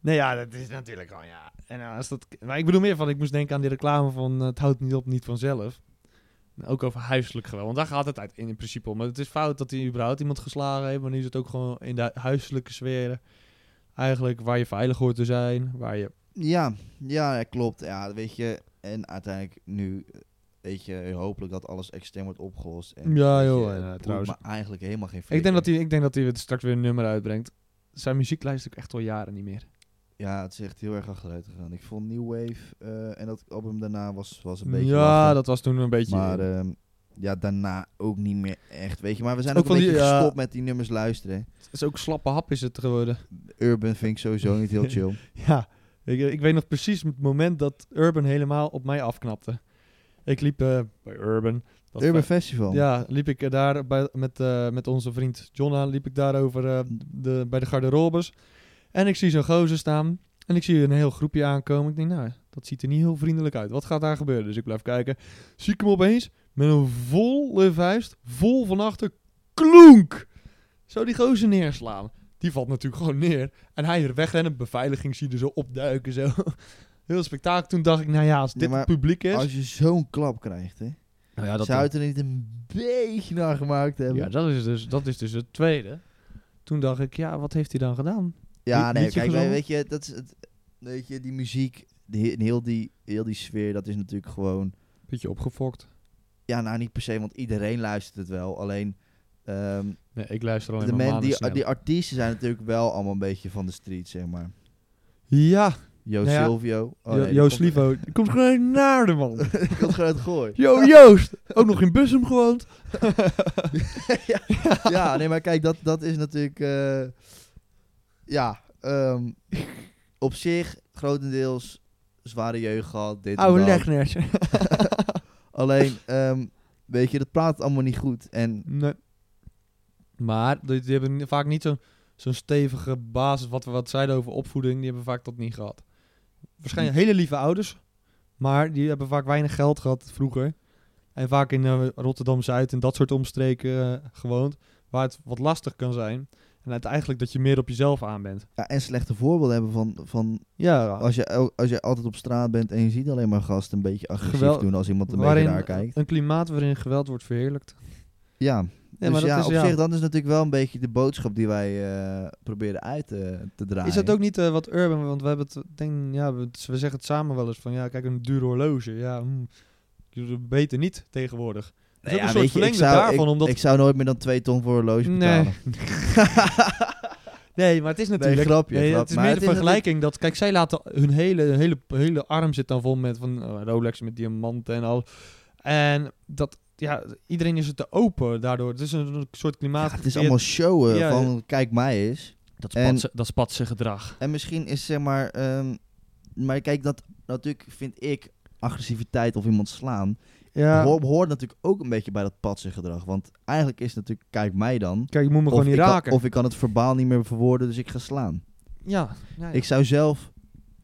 Speaker 1: nee ja, dat is natuurlijk gewoon ja. En eh, als dat... Maar ik bedoel meer van, ik moest denken aan die reclame van eh, het houdt niet op, niet vanzelf. Nou, Ook over huiselijk geweld. Want daar gaat het uit in, in principe om. Het is fout dat hij überhaupt iemand geslagen heeft. Maar nu is het ook gewoon in de huiselijke sferen. Eigenlijk waar je veilig hoort te zijn. Waar je...
Speaker 2: Ja, ja, ja, klopt. Ja, weet je. En uiteindelijk nu, eh, weet je, hopelijk dat alles extern wordt opgelost. En,
Speaker 1: Ja,
Speaker 2: weet
Speaker 1: joh,
Speaker 2: je,
Speaker 1: en,
Speaker 2: het
Speaker 1: eh,
Speaker 2: boeit
Speaker 1: trouwens-
Speaker 2: me eigenlijk helemaal geen
Speaker 1: Ik denk, dat
Speaker 2: flikker.
Speaker 1: hij, ik denk dat hij weer straks weer een nummer uitbrengt. Zijn muziek luister ik echt al jaren niet meer.
Speaker 2: Ja, het is echt heel erg achteruit gegaan. Ik vond New Wave eh, en dat album daarna was, was een beetje
Speaker 1: ja,
Speaker 2: lachen.
Speaker 1: dat was toen een beetje...
Speaker 2: Maar ehm, ja, daarna ook niet meer echt, weet je. Maar we zijn
Speaker 1: Ook
Speaker 2: ook,
Speaker 1: van
Speaker 2: een
Speaker 1: die,
Speaker 2: beetje
Speaker 1: ja.
Speaker 2: gestopt met die nummers luisteren.
Speaker 1: Het is ook slappe hap is het geworden.
Speaker 2: Urban vind ik sowieso niet heel chill.
Speaker 1: Ja, ik, ik weet nog precies het moment dat Urban helemaal op mij afknapte. Ik liep eh, bij Urban. Dat
Speaker 2: Urban
Speaker 1: fe-
Speaker 2: Festival.
Speaker 1: Ja, liep ik eh, daar bij, met, eh, met onze vriend John aan, liep ik daar over eh, de, bij de garderobes. En ik zie zo'n gozer staan en ik zie een heel groepje aankomen. Ik denk, nou, dat ziet er niet heel vriendelijk uit. Wat gaat daar gebeuren? Dus ik blijf kijken. Zie ik hem opeens met een volle vuist, vol van achter, klonk! Zo die gozer neerslaan. Die valt natuurlijk gewoon neer. En hij er wegrennen, beveiliging zie je er zo opduiken, zo. Heel spektakel. Toen dacht ik, nou ja, als
Speaker 2: Ja,
Speaker 1: dit
Speaker 2: maar
Speaker 1: het publiek is...
Speaker 2: Als je zo'n klap krijgt, hè.
Speaker 1: nou ja,
Speaker 2: zou je het er niet een beetje naar gemaakt hebben?
Speaker 1: Ja, dat is, dus, dat is dus het tweede. Toen dacht ik, ja, wat heeft hij dan gedaan?
Speaker 2: Ja,
Speaker 1: Lied-
Speaker 2: nee,
Speaker 1: liedje
Speaker 2: kijk,
Speaker 1: gezongen?
Speaker 2: weet je, dat is het, weet je, die muziek, die, he- heel, die, heel die sfeer, dat is natuurlijk gewoon...
Speaker 1: Beetje opgefokt.
Speaker 2: Ja, nou niet per se, want iedereen luistert het wel. Alleen, ehm,
Speaker 1: Nee, ik luister alleen
Speaker 2: de
Speaker 1: maar
Speaker 2: men, die,
Speaker 1: Maneschijn.
Speaker 2: die artiesten zijn natuurlijk wel allemaal een beetje van de street, zeg maar.
Speaker 1: Ja,
Speaker 2: Jo
Speaker 1: Nou ja,
Speaker 2: Silvio. Oh,
Speaker 1: Jo-
Speaker 2: nee, die
Speaker 1: Joost
Speaker 2: komt-
Speaker 1: Livo. Die komt gewoon naar de man.
Speaker 2: Die komt gewoon uit gooi.
Speaker 1: Jo, Joost. Ook nog in Bussum gewoond.
Speaker 2: ja. ja, nee, maar kijk, dat, dat is natuurlijk... eh, ja, ehm, op zich grotendeels zware jeugd gehad. Dit en
Speaker 1: Oude
Speaker 2: dat.
Speaker 1: legnertje.
Speaker 2: Alleen, ehm, weet je, dat praat allemaal niet goed. En
Speaker 1: Nee. Maar die, die hebben vaak niet zo'n zo'n stevige basis. Wat we wat zeiden over opvoeding, die hebben vaak dat niet gehad. Waarschijnlijk hele lieve ouders. Maar die hebben vaak weinig geld gehad vroeger. En vaak in eh, Rotterdam-Zuid en dat soort omstreken eh, gewoond. Waar het wat lastig kan zijn. En uiteindelijk dat je meer op jezelf aan bent.
Speaker 2: Ja, en slechte voorbeelden hebben van, van
Speaker 1: Ja,
Speaker 2: als, je, el- als je altijd op straat bent en je ziet alleen maar gasten een beetje agressief
Speaker 1: Geweld-
Speaker 2: doen als iemand een
Speaker 1: waarin,
Speaker 2: beetje raar kijkt.
Speaker 1: een klimaat waarin geweld wordt verheerlijkt.
Speaker 2: Ja,
Speaker 1: Ja,
Speaker 2: dus
Speaker 1: maar dat
Speaker 2: ja,
Speaker 1: is,
Speaker 2: op
Speaker 1: ja.
Speaker 2: zich, dat is natuurlijk wel een beetje de boodschap die wij eh, proberen uit te, te draaien.
Speaker 1: Is dat ook niet eh, wat urban? Want we hebben het, denk, ja, we, we zeggen het samen wel eens van, ja, kijk, een duur horloge. Ja, mm, je- beter niet tegenwoordig. Het is
Speaker 2: Nou
Speaker 1: ook
Speaker 2: ja,
Speaker 1: een soort
Speaker 2: weet je,
Speaker 1: verlengde
Speaker 2: ik zou,
Speaker 1: daarvan,
Speaker 2: ik,
Speaker 1: omdat...
Speaker 2: ik zou nooit meer dan twee ton voor een horloge betalen.
Speaker 1: nee. nee, maar het is natuurlijk...
Speaker 2: grapje,
Speaker 1: nee,
Speaker 2: grap.
Speaker 1: het is
Speaker 2: Maar
Speaker 1: meer
Speaker 2: het
Speaker 1: de
Speaker 2: is
Speaker 1: vergelijking dat... Kijk, zij laten hun hele, hele, hele arm zit dan vol met van eh, Rolex met diamanten en al. En dat ja, iedereen is er te open daardoor. Het is een, een soort klimaat.
Speaker 2: het is allemaal showen
Speaker 1: Ja,
Speaker 2: van kijk mij eens.
Speaker 3: Dat
Speaker 2: En-
Speaker 3: spatse, dat spatse gedrag.
Speaker 2: En misschien is zeg maar... ehm, maar kijk, dat natuurlijk vind ik agressiviteit of iemand slaan...
Speaker 1: Ja.
Speaker 2: Hoort, hoort natuurlijk ook een beetje bij dat patse gedrag. Want eigenlijk is het natuurlijk kijk mij dan...
Speaker 1: Kijk, je moet me gewoon niet
Speaker 2: ik kan-
Speaker 1: raken.
Speaker 2: of ik kan het verbaal niet meer verwoorden, dus ik ga slaan.
Speaker 1: ja. ja, ja.
Speaker 2: Ik zou zelf...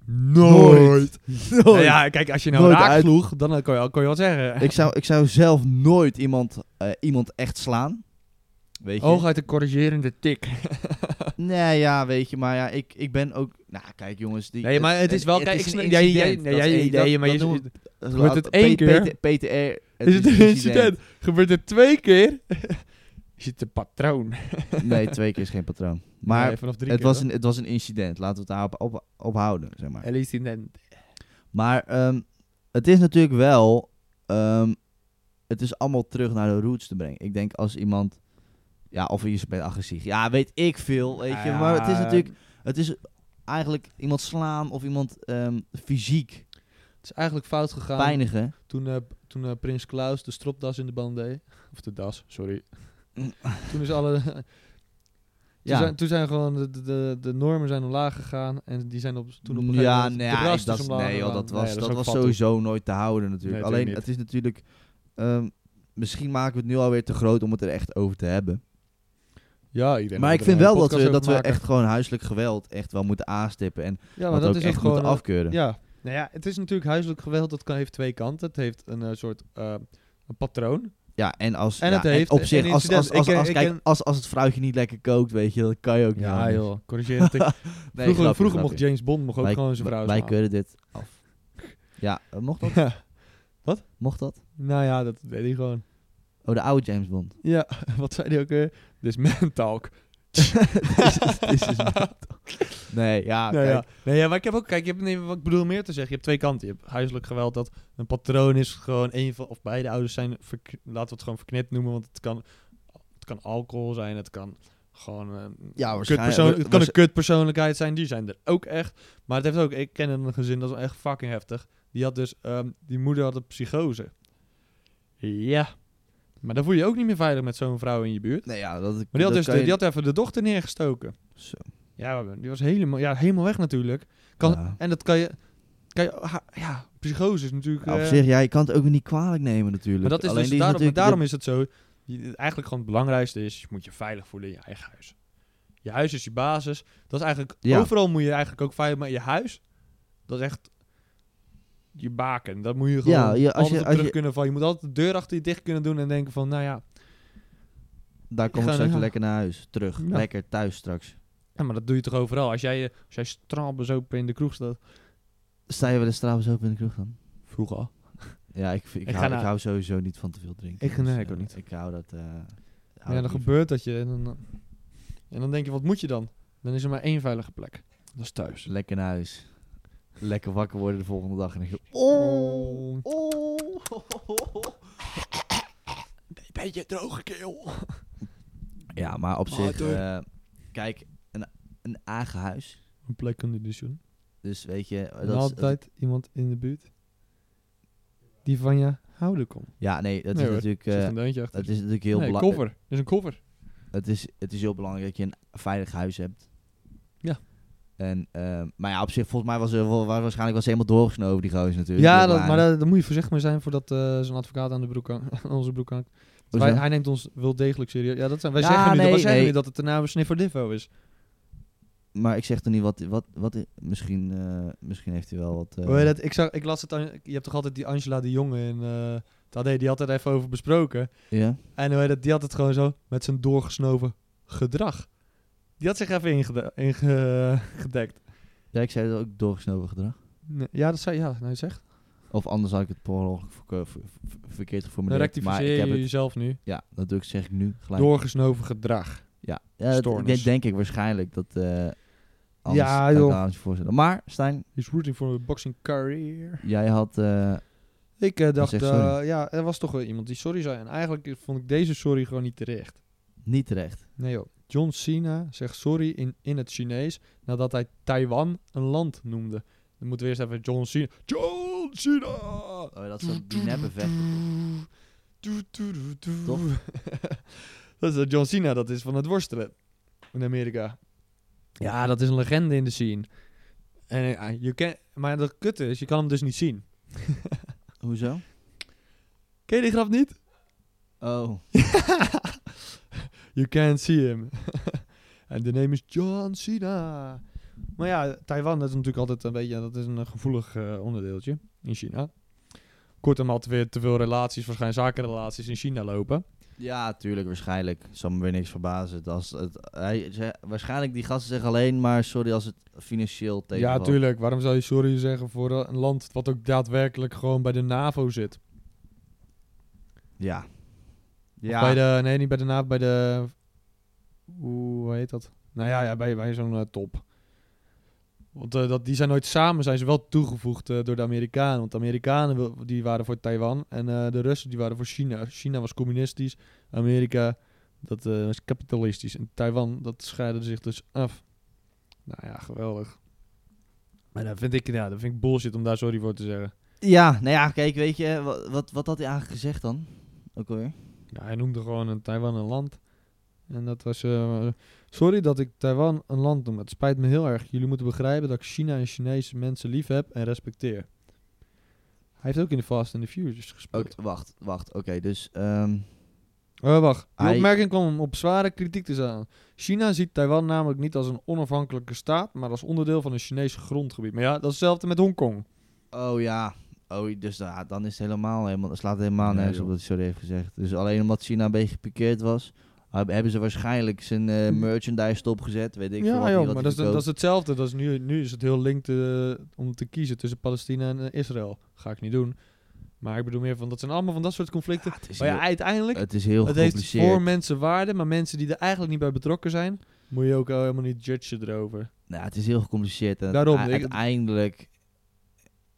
Speaker 1: Nooit. Nou ja, kijk, als je nou
Speaker 2: Nooit
Speaker 1: raak
Speaker 2: uit-
Speaker 1: sloeg, dan eh, kon je, kon je wat zeggen.
Speaker 2: Ik zou, ik zou zelf nooit iemand, eh, iemand echt slaan. Weet je?
Speaker 1: Hooguit een corrigerende tik.
Speaker 2: Nee, ja, weet je, maar ja, ik, ik ben ook... Nou, kijk jongens, die...
Speaker 1: Nee, maar het is wel... kijk, ik
Speaker 2: is
Speaker 1: snap-
Speaker 2: een
Speaker 1: jij- jij-
Speaker 2: incident.
Speaker 1: nee,
Speaker 2: Dat is
Speaker 1: jij- nee,
Speaker 2: een- dat-
Speaker 1: maar
Speaker 2: dat
Speaker 1: je-
Speaker 2: doen we-
Speaker 1: Gebeurt het één
Speaker 2: P-
Speaker 1: keer?
Speaker 2: PT PTR. het
Speaker 1: Is het een incident? Gebeurt het twee keer? Is het een patroon?
Speaker 2: Nee, twee keer is geen patroon. Maar
Speaker 1: Nee, vanaf drie
Speaker 2: het,
Speaker 1: keer,
Speaker 2: was
Speaker 1: hoor.
Speaker 2: een, het was een incident. Laten we het daarop op, ophouden, zeg maar.
Speaker 1: Een incident.
Speaker 2: Maar ehm, het is natuurlijk wel... ehm, het is allemaal terug naar de roots te brengen. Ik denk als iemand... Ja, of je bent agressief. Ja, weet ik veel, weet je.
Speaker 1: Ja,
Speaker 2: Maar het is natuurlijk... Het is eigenlijk iemand slaan of iemand ehm, fysiek
Speaker 1: Het is eigenlijk fout gegaan
Speaker 2: pijnigen.
Speaker 1: toen, eh, toen eh, Prins Klaus de stropdas in de band deed. Of de das, sorry. toen is alle... toen,
Speaker 2: Ja.
Speaker 1: zijn, toen zijn gewoon de, de- de, de normen zijn omlaag gegaan en die zijn op, toen op een gegeven
Speaker 2: ja,
Speaker 1: moment
Speaker 2: nee,
Speaker 1: de
Speaker 2: ja,
Speaker 1: rast
Speaker 2: ik-
Speaker 1: is
Speaker 2: dat,
Speaker 1: omlaag
Speaker 2: nee, joh,
Speaker 1: gegaan.
Speaker 2: dat was,
Speaker 1: Nee,
Speaker 2: dat
Speaker 1: is ook
Speaker 2: was
Speaker 1: fat, hoor.
Speaker 2: sowieso nooit te houden natuurlijk.
Speaker 1: Nee,
Speaker 2: Alleen
Speaker 1: natuurlijk niet.
Speaker 2: het is natuurlijk... ehm, misschien maken we het nu alweer te groot om het er echt over te hebben.
Speaker 1: Ja, ik denk
Speaker 2: maar
Speaker 1: dat
Speaker 2: ik
Speaker 1: we
Speaker 2: vind
Speaker 1: er een
Speaker 2: wel dat we,
Speaker 1: podcast
Speaker 2: dat we
Speaker 1: over
Speaker 2: echt gewoon huiselijk geweld echt wel moeten aanstippen. En
Speaker 1: maken. Ja, maar
Speaker 2: dat,
Speaker 1: dat
Speaker 2: ook
Speaker 1: is
Speaker 2: echt
Speaker 1: ook gewoon...
Speaker 2: moeten
Speaker 1: eh,
Speaker 2: afkeuren.
Speaker 1: Ja. Nou ja, het is natuurlijk huiselijk geweld. Dat kan, heeft twee kanten. Het heeft een eh, soort eh, een patroon.
Speaker 2: Ja, en als
Speaker 1: En
Speaker 2: ja,
Speaker 1: het heeft
Speaker 2: op
Speaker 1: een
Speaker 2: zich, als,
Speaker 1: incident.
Speaker 2: als, als,
Speaker 1: Ik ken-
Speaker 2: als,
Speaker 1: ik
Speaker 2: kijk,
Speaker 1: ken-
Speaker 2: als, als het vrouwtje niet lekker kookt, weet je, dat kan je ook niet.
Speaker 1: Ja,
Speaker 2: anders.
Speaker 1: joh. Corrigeer het. vroeger
Speaker 2: Nee, grapje,
Speaker 1: vroeger
Speaker 2: grapje.
Speaker 1: mocht James Bond mocht ook
Speaker 2: Wij-
Speaker 1: gewoon zijn vrouw
Speaker 2: Wij
Speaker 1: slaan.
Speaker 2: keuren dit af. Ja, eh, mocht dat?
Speaker 1: Ja.
Speaker 2: Mocht dat?
Speaker 1: Nou ja, dat deed hij gewoon.
Speaker 2: Oh, de oude James Bond.
Speaker 1: Ja, wat zei hij ook weer? Dit is man talk.
Speaker 2: Dit is- dit is- nee, ja,
Speaker 1: nou,
Speaker 2: kijk,
Speaker 1: ja. Nee, ja, maar ik heb ook... Kijk, je hebt, nee, wat ik bedoel meer te zeggen. Je hebt twee kanten. Je hebt huiselijk geweld. Dat een patroon is gewoon... Een van, of beide ouders zijn... verk- Laten we het gewoon verknipt noemen. Want het kan, het kan alcohol zijn. Het kan gewoon... eh,
Speaker 2: Ja,
Speaker 1: Kutpersoon- het kan
Speaker 2: waarsch-
Speaker 1: een kutpersoonlijkheid zijn, die zijn er ook echt. Maar het heeft ook, ik ken een gezin, dat is wel echt fucking heftig. Die had dus, ehm, die moeder had een psychose. Ja. Maar dan voel je je ook niet meer veilig met zo'n vrouw in je buurt.
Speaker 2: Nee, ja,
Speaker 1: Maar
Speaker 2: dat,
Speaker 1: die had,
Speaker 2: dat
Speaker 1: dus
Speaker 2: kan
Speaker 1: de-
Speaker 2: je-
Speaker 1: die had even de dochter neergestoken.
Speaker 2: Zo.
Speaker 1: Ja, die was helemaal, ja, helemaal weg natuurlijk. Kan,
Speaker 2: Ja.
Speaker 1: En dat kan je, kan je ha- ja, psychose is natuurlijk...
Speaker 2: Ja, op
Speaker 1: eh,
Speaker 2: zich, ja, je kan het ook niet kwalijk nemen natuurlijk.
Speaker 1: maar dat is
Speaker 2: Alleen
Speaker 1: dus,
Speaker 2: die
Speaker 1: daarom,
Speaker 2: natuurlijk-
Speaker 1: daarom is het zo. je- eigenlijk gewoon het belangrijkste is, je moet je veilig voelen in je eigen huis. Je huis is je basis. Dat is eigenlijk,
Speaker 2: Ja.
Speaker 1: overal moet je eigenlijk ook veilig, maar je huis, dat is echt je baken. Dat moet je gewoon
Speaker 2: Ja, ja, als
Speaker 1: altijd
Speaker 2: je-
Speaker 1: op
Speaker 2: als
Speaker 1: terug
Speaker 2: je-
Speaker 1: kunnen vallen. Je moet altijd de deur achter je dicht kunnen doen en denken van, nou ja,
Speaker 2: daar kom
Speaker 1: Ik
Speaker 2: ik
Speaker 1: ga
Speaker 2: straks
Speaker 1: naar-
Speaker 2: lekker naar huis. Terug.
Speaker 1: Ja.
Speaker 2: Lekker thuis straks.
Speaker 1: ja, maar dat doe je toch overal. Als jij, eh, als jij straalbezopen in de kroeg staat,
Speaker 2: Sta je wel eens trouwens open in de kroeg dan?
Speaker 1: vroeger
Speaker 2: Ja, ik, ik,
Speaker 1: Ik
Speaker 2: hou,
Speaker 1: ga
Speaker 2: ik
Speaker 1: naar-
Speaker 2: hou sowieso niet van te veel drinken.
Speaker 1: Ik- nee,
Speaker 2: Dus,
Speaker 1: ik ook
Speaker 2: eh,
Speaker 1: niet.
Speaker 2: Ik hou dat... eh, hou
Speaker 1: Ja,
Speaker 2: ik
Speaker 1: dan
Speaker 2: niet van.
Speaker 1: gebeurt dat je en dan, eh, en dan denk je, wat moet je dan? Dan is er maar één veilige plek. Dat is thuis.
Speaker 2: Lekker naar huis. Lekker wakker worden de volgende dag. En dan denk je, oh, oh.
Speaker 1: Beetje droge keel.
Speaker 2: Ja, maar op
Speaker 1: Oh,
Speaker 2: zich...
Speaker 1: doei.
Speaker 2: eh, kijk, een, een eigen huis.
Speaker 1: Een plek in de disjoen.
Speaker 2: Dus weet je... eh,
Speaker 1: En
Speaker 2: Dat is,
Speaker 1: altijd iemand in de buurt die van je houden komt.
Speaker 2: ja, nee, dat
Speaker 1: Nee
Speaker 2: is
Speaker 1: hoor,
Speaker 2: natuurlijk...
Speaker 1: Er
Speaker 2: eh,
Speaker 1: zit een deuntje achter.
Speaker 2: dat is natuurlijk heel
Speaker 1: nee,
Speaker 2: belangrijk.
Speaker 1: koffer. Dat is een koffer.
Speaker 2: het is, het is heel belangrijk dat je een veilig huis hebt.
Speaker 1: Ja.
Speaker 2: En, ehm, maar ja, op zich, volgens mij was er wel- wa- waarschijnlijk was helemaal doorgesnoven, die gozer natuurlijk.
Speaker 1: Ja,
Speaker 2: Die
Speaker 1: dat,
Speaker 2: kleine.
Speaker 1: maar daar, daar moet je voorzichtig mee zijn voordat eh zijn advocaat aan, de broek hang- aan onze broek hangt.
Speaker 2: Hoezo?
Speaker 1: Hij, hij neemt ons wel degelijk serieus. Ja, dat zijn, wij
Speaker 2: Ja,
Speaker 1: zeggen, nu, dat-
Speaker 2: nee,
Speaker 1: wij zeggen
Speaker 2: nee.
Speaker 1: nu dat het de naam Sniffer Divo is.
Speaker 2: Maar ik zeg er niet wat, wat, wat i- misschien, eh, misschien heeft hij wel wat... eh,
Speaker 1: Hoor je dat? Ik, zag, ik las het, aan- je hebt toch altijd die Angela de Jonge in eh, het AD, die had het even over besproken.
Speaker 2: Ja?
Speaker 1: En hoe heet het, die had het gewoon zo met zijn doorgesnoven gedrag. Die had zich even ingede- ingedekt.
Speaker 2: ja, ik zei dat ook doorgesnoven gedrag.
Speaker 1: Nee, ja, dat zei ja, nou je zegt.
Speaker 2: Of anders had ik het per ongeluk verke- ver- ver- verkeerd
Speaker 1: Dan
Speaker 2: geformuleerd. Maar ik
Speaker 1: rectificeer
Speaker 2: heb
Speaker 1: je
Speaker 2: het,
Speaker 1: jezelf nu.
Speaker 2: ja, dat doe ik, zeg ik nu gelijk.
Speaker 1: Doorgesnoven gedrag.
Speaker 2: ja, ja dat,
Speaker 1: Stoornis.
Speaker 2: denk- denk ik waarschijnlijk dat... eh anders
Speaker 1: Ja,
Speaker 2: kan ik
Speaker 1: joh.
Speaker 2: daar anders voorstellen. Maar, Stijn,
Speaker 1: He's rooting for a boxing career.
Speaker 2: jij had... eh,
Speaker 1: Ik eh, dacht,
Speaker 2: zegt sorry.
Speaker 1: eh, ja, er was toch wel iemand die sorry zei. En eigenlijk vond ik deze sorry gewoon niet terecht.
Speaker 2: niet terecht.
Speaker 1: Nee joh. John Cena zegt sorry in, in het Chinees nadat hij Taiwan een land noemde. Dan moeten we eerst even John Cena. John Cena!
Speaker 2: Oh, dat is die neppe vechten.
Speaker 1: Doe, doe, doe, doe.
Speaker 3: Toch?
Speaker 1: dat is dat John Cena, dat is van het worstelen in Amerika. Ja, dat is een legende in de scene. En, eh, je ken, maar de kutte is, je kan hem dus niet zien.
Speaker 2: Hoezo?
Speaker 1: Ken je die grap niet?
Speaker 2: Oh.
Speaker 1: You can't see him. En de name is John Cena. Maar ja, Taiwan dat is natuurlijk altijd een beetje, dat is een gevoelig eh, onderdeeltje in China. Kortom had weer te veel relaties, waarschijnlijk zakenrelaties in China lopen.
Speaker 2: Ja, tuurlijk, waarschijnlijk. Zal me weer niks verbazen. Als het, hij, ze- waarschijnlijk die gasten zeggen alleen maar sorry als het financieel tegenvalt.
Speaker 1: ja, tuurlijk. Waarom zou je sorry zeggen voor eh, een land wat ook daadwerkelijk gewoon bij de NAVO zit?
Speaker 2: Ja.
Speaker 1: Of
Speaker 2: Ja.
Speaker 1: Bij de, nee, niet bij de NAVO, bij de... Hoe hoe heet dat? Nou ja, ja bij, bij zo'n eh, top. Want eh, dat, die zijn nooit samen, zijn ze wel toegevoegd eh, door de Amerikanen. Want de Amerikanen wil- die waren voor Taiwan en eh, de Russen die waren voor China. China was communistisch, Amerika dat, eh, was kapitalistisch. En Taiwan, dat scheidde zich dus af. Nou ja, geweldig. Maar dat vind ik, ja, dat vind ik bullshit om daar sorry voor te zeggen.
Speaker 2: Ja, nou ja, kijk, weet je, wat, wat, wat had hij eigenlijk gezegd dan? Ook alweer?
Speaker 1: Ja, hij noemde gewoon een Taiwan een land. En dat was. eh, sorry dat ik Taiwan een land noem. Het spijt me heel erg. Jullie moeten begrijpen dat ik China en Chinese mensen lief heb en respecteer. Hij heeft ook in de Fast and the Furious gespeeld.
Speaker 2: Oké, wacht, wacht. Oké, dus ehm,
Speaker 1: Eh, wacht, die
Speaker 2: Hij-
Speaker 1: opmerking kwam op zware kritiek te staan. China ziet Taiwan namelijk niet als een onafhankelijke staat, maar als onderdeel van een Chinees grondgebied. Maar ja, dat is hetzelfde met Hongkong.
Speaker 2: oh ja. Oh, dus da- dan is het helemaal, helemaal dan slaat het helemaal
Speaker 1: Nee,
Speaker 2: nergens op
Speaker 1: joh.
Speaker 2: wat hij sorry heeft gezegd. Dus alleen omdat China een beetje gepikeerd was, heb- hebben ze waarschijnlijk zijn eh,
Speaker 1: Hm.
Speaker 2: merchandise stopgezet. Weet ik veel wat
Speaker 1: ja,
Speaker 2: hij-
Speaker 1: joh, maar
Speaker 2: wat hij
Speaker 1: dat is, dat is hetzelfde. Dat is nu, nu is het heel link te- om te kiezen tussen Palestina en eh, Israël. Ga ik niet doen. Maar ik bedoel meer van, dat zijn allemaal van dat soort
Speaker 2: verkoopt.
Speaker 1: conflicten.
Speaker 2: Ja, het Ah, is
Speaker 1: maar ja,
Speaker 2: heel,
Speaker 1: uiteindelijk,
Speaker 2: het is heel
Speaker 1: het heeft
Speaker 2: gecompliceerd.
Speaker 1: voor mensen waarde, maar mensen die er eigenlijk niet bij betrokken zijn, moet je ook eh, helemaal niet judgen erover.
Speaker 2: Nou, het is heel gecompliceerd. En
Speaker 1: Daarom,
Speaker 2: ui-
Speaker 1: ik-
Speaker 2: uiteindelijk,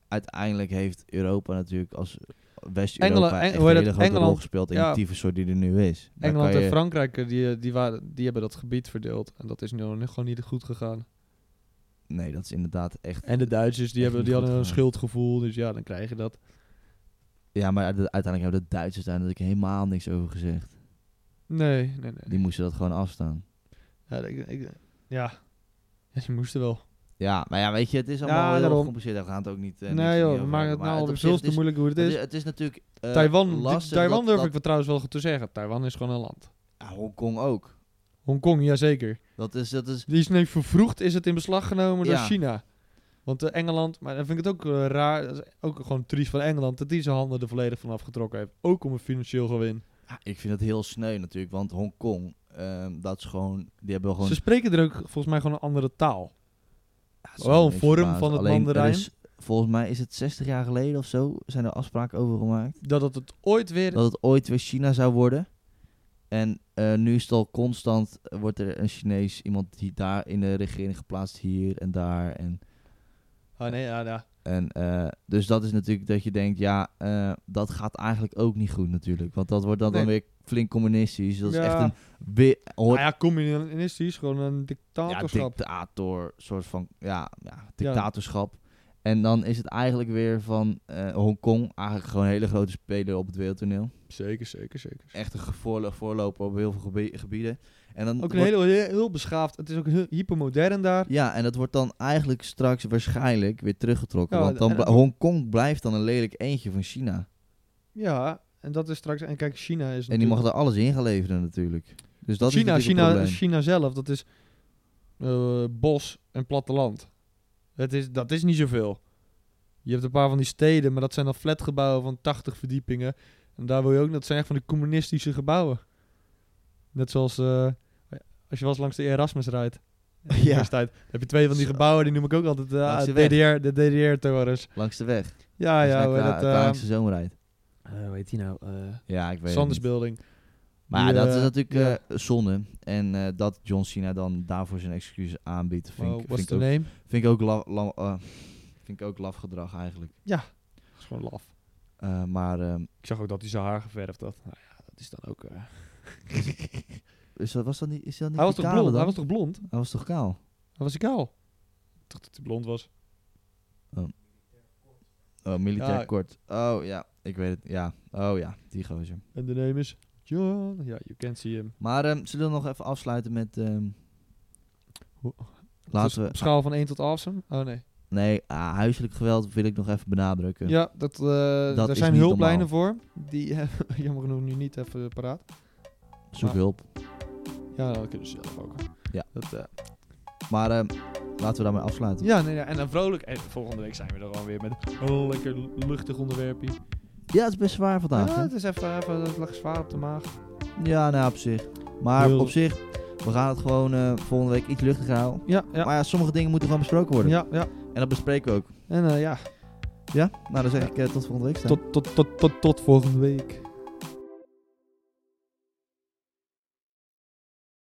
Speaker 2: uiteindelijk heeft Europa natuurlijk als
Speaker 1: Engeland-
Speaker 2: West-Europa
Speaker 1: Eng-
Speaker 2: echt
Speaker 1: hoe
Speaker 2: een
Speaker 1: heet
Speaker 2: hele
Speaker 1: dat?
Speaker 2: grote rol
Speaker 1: Engeland-
Speaker 2: gespeeld in
Speaker 1: ja.
Speaker 2: die tyfussoort die er nu is. Daar
Speaker 1: Engeland
Speaker 2: kan
Speaker 1: en
Speaker 2: je-
Speaker 1: Frankrijk, eh, die, eh, die, waren, die hebben dat gebied verdeeld. En dat is nu gewoon niet goed gegaan.
Speaker 2: Nee, dat is inderdaad echt...
Speaker 1: En de Duitsers, die,
Speaker 2: Echt
Speaker 1: hebben,
Speaker 2: niet
Speaker 1: die
Speaker 2: goed
Speaker 1: hadden een
Speaker 2: gegaan.
Speaker 1: schuldgevoel, dus ja, dan krijg je dat.
Speaker 2: Ja, maar uite- uiteindelijk hebben de Duitsers daar natuurlijk helemaal niks over gezegd.
Speaker 1: Nee, nee, nee.
Speaker 2: Die moesten dat gewoon afstaan.
Speaker 1: Ja, ik, ik- ja. ja die moesten wel.
Speaker 2: Ja, maar ja, weet je, het is allemaal
Speaker 1: Ja,
Speaker 2: heel
Speaker 1: daarom.
Speaker 2: gecompliceerd. Daar gaan het ook niet... eh, niks
Speaker 1: nee
Speaker 2: niet
Speaker 1: joh,
Speaker 2: over
Speaker 1: we maken
Speaker 2: hebben.
Speaker 1: het
Speaker 2: Maar
Speaker 1: nou
Speaker 2: op
Speaker 1: alweer
Speaker 2: zich,
Speaker 1: veel
Speaker 2: het
Speaker 1: te
Speaker 2: is-
Speaker 1: moeilijk hoe het
Speaker 2: Het
Speaker 1: is.
Speaker 2: is, het is natuurlijk... eh,
Speaker 1: Taiwan,
Speaker 2: lastig
Speaker 1: Taiwan
Speaker 2: dat-
Speaker 1: durf
Speaker 2: dat-
Speaker 1: ik wel trouwens wel te zeggen. Taiwan is gewoon een land.
Speaker 2: Ja, Hongkong ook.
Speaker 1: Hongkong, jazeker.
Speaker 2: Dat is, dat is
Speaker 1: Die is nu vervroegd is het in beslag genomen door
Speaker 2: Ja.
Speaker 1: China. Want eh, Engeland, maar dan vind ik het ook eh, raar, dat is ook gewoon triest van Engeland, dat die zijn handen er volledig van afgetrokken heeft. Ook om een financieel gewin.
Speaker 2: Ja, ik vind het heel sneu natuurlijk, want Hongkong, ehm, dat is gewoon, die hebben gewoon...
Speaker 1: Ze spreken er ook volgens mij gewoon een andere taal.
Speaker 2: Ja, het is
Speaker 1: wel een
Speaker 2: niks
Speaker 1: vorm
Speaker 2: verbaasd.
Speaker 1: van het
Speaker 2: Alleen, er
Speaker 1: Mandarijn.
Speaker 2: is- volgens mij is het 60 jaar geleden of zo, zijn er afspraken over gemaakt,
Speaker 1: Dat het, het ooit weer...
Speaker 2: dat het ooit weer China zou worden. En eh, nu is het al constant, eh, wordt er een Chinees, iemand die daar in de regering geplaatst, hier en daar. En,
Speaker 1: Ah nee, ja, ja.
Speaker 2: en, eh, dus dat is natuurlijk dat je denkt, ja, eh, dat gaat eigenlijk ook niet goed natuurlijk. Want dat wordt dan, dan
Speaker 1: Nee.
Speaker 2: weer flink communistisch. Dat
Speaker 1: Ja.
Speaker 2: is echt een... wi-
Speaker 1: Nou
Speaker 2: hoort
Speaker 1: ja, communistisch, gewoon een
Speaker 2: Ja,
Speaker 1: dictatorschap.
Speaker 2: dictator, soort van, ja, ja dictatorschap. En dan is het eigenlijk weer van eh, Hongkong, eigenlijk gewoon een hele grote speler op het wereldtoneel.
Speaker 1: zeker, zeker, zeker.
Speaker 2: Echt een gevoorlo- voorloper op heel veel gebie- gebieden. En dan
Speaker 1: Ook een
Speaker 2: wordt-
Speaker 1: heel, heel, heel beschaafd. Het is ook heel hypermodern daar.
Speaker 2: Ja, en dat wordt dan eigenlijk straks waarschijnlijk weer teruggetrokken.
Speaker 1: Ja,
Speaker 2: want dan
Speaker 1: en-
Speaker 2: bl- Hongkong blijft dan een lelijk eentje van China.
Speaker 1: Ja, en dat is straks. En kijk, China is.
Speaker 2: En die mag er alles in gaan leveren natuurlijk. Dus dat
Speaker 1: China,
Speaker 2: is natuurlijk een
Speaker 1: China,
Speaker 2: probleem.
Speaker 1: China zelf, dat is eh, bos en platteland. Het is, dat is niet zoveel. Je hebt een paar van die steden, maar dat zijn dan flatgebouwen van 80 verdiepingen. En daar wil je ook, dat zijn echt van die communistische gebouwen. Net zoals eh, als je wel eens langs de Erasmus rijdt.
Speaker 2: Ja.
Speaker 1: Universiteit. Dan heb je twee van die
Speaker 2: Zo.
Speaker 1: gebouwen, die noem ik ook altijd eh,
Speaker 2: Langs de weg. nou
Speaker 1: DDR, de DDR-torens.
Speaker 2: Langs de weg.
Speaker 1: Ja, ja, hoe heet dat? eh,
Speaker 2: Langs de zomerrijd.
Speaker 1: hoe heet die nou? Eh,
Speaker 2: Ja, ik weet het
Speaker 1: Sanders
Speaker 2: niet.
Speaker 1: Building.
Speaker 2: Maar
Speaker 1: Die,
Speaker 2: dat
Speaker 1: eh,
Speaker 2: is natuurlijk
Speaker 1: ja.
Speaker 2: eh, zonde. En eh, dat John Cena dan daarvoor zijn excuses aanbiedt, vind,
Speaker 1: Oh,
Speaker 2: ik,
Speaker 1: what's
Speaker 2: vind,
Speaker 1: the
Speaker 2: ik, ook,
Speaker 1: name?
Speaker 2: vind ik ook laf, lam- eh, vind ik ook laf gedrag eigenlijk.
Speaker 1: Dat is gewoon laf.
Speaker 2: Eh, maar ehm,
Speaker 1: Ik zag ook dat hij zijn haar geverfd had. Nou ja, dat is dan ook... eh,
Speaker 2: is dat, was dat niet, is dat niet
Speaker 1: Hij was,
Speaker 2: die
Speaker 1: toch
Speaker 2: kale
Speaker 1: blond?
Speaker 2: dan?
Speaker 1: hij was toch blond?
Speaker 2: Hij was toch kaal?
Speaker 1: Hij was kaal. Ik dacht dat hij blond was.
Speaker 2: Oh, militair
Speaker 1: Ja.
Speaker 2: kort. Oh ja, ik weet het. Ja. Oh ja, die gozer.
Speaker 1: En de name is John. Ja, you can see him.
Speaker 2: Maar ehm zullen we nog even afsluiten met... ehm,
Speaker 1: Ho-
Speaker 2: laten
Speaker 1: Dus
Speaker 2: we...
Speaker 1: Op schaal van 1 tot awesome. Oh nee.
Speaker 2: Nee, ah, huiselijk geweld wil ik nog even benadrukken.
Speaker 1: Ja, dat, eh daar
Speaker 2: is
Speaker 1: zijn
Speaker 2: niet
Speaker 1: hulplijnen voor. Die hebben we jammer genoeg nu niet even paraat.
Speaker 2: Zoek
Speaker 1: Ah.
Speaker 2: hulp.
Speaker 1: Ja, dat kunnen ze zelf ook.
Speaker 2: Ja.
Speaker 1: Dat, eh,
Speaker 2: Maar ehm, laten we daarmee afsluiten.
Speaker 1: ja, nee, ja, en dan vrolijk. En volgende week zijn we er gewoon weer met een lekker luchtig onderwerpje.
Speaker 2: Ja, het is best zwaar vandaag.
Speaker 1: ja,
Speaker 2: hè?
Speaker 1: het is even, even, het lag zwaar op de maag.
Speaker 2: Ja, nou op zich. Maar
Speaker 1: Heel-
Speaker 2: op zich, we gaan het gewoon eh, volgende week iets luchtiger houden.
Speaker 1: Ja, ja.
Speaker 2: Maar ja, sommige dingen moeten gewoon besproken worden.
Speaker 1: ja, ja.
Speaker 2: En dat bespreken we ook.
Speaker 1: En eh, ja,
Speaker 2: Ja? Nou, dan zeg ik eh, tot volgende week. Stijn.
Speaker 1: tot, tot, tot, tot, tot volgende week.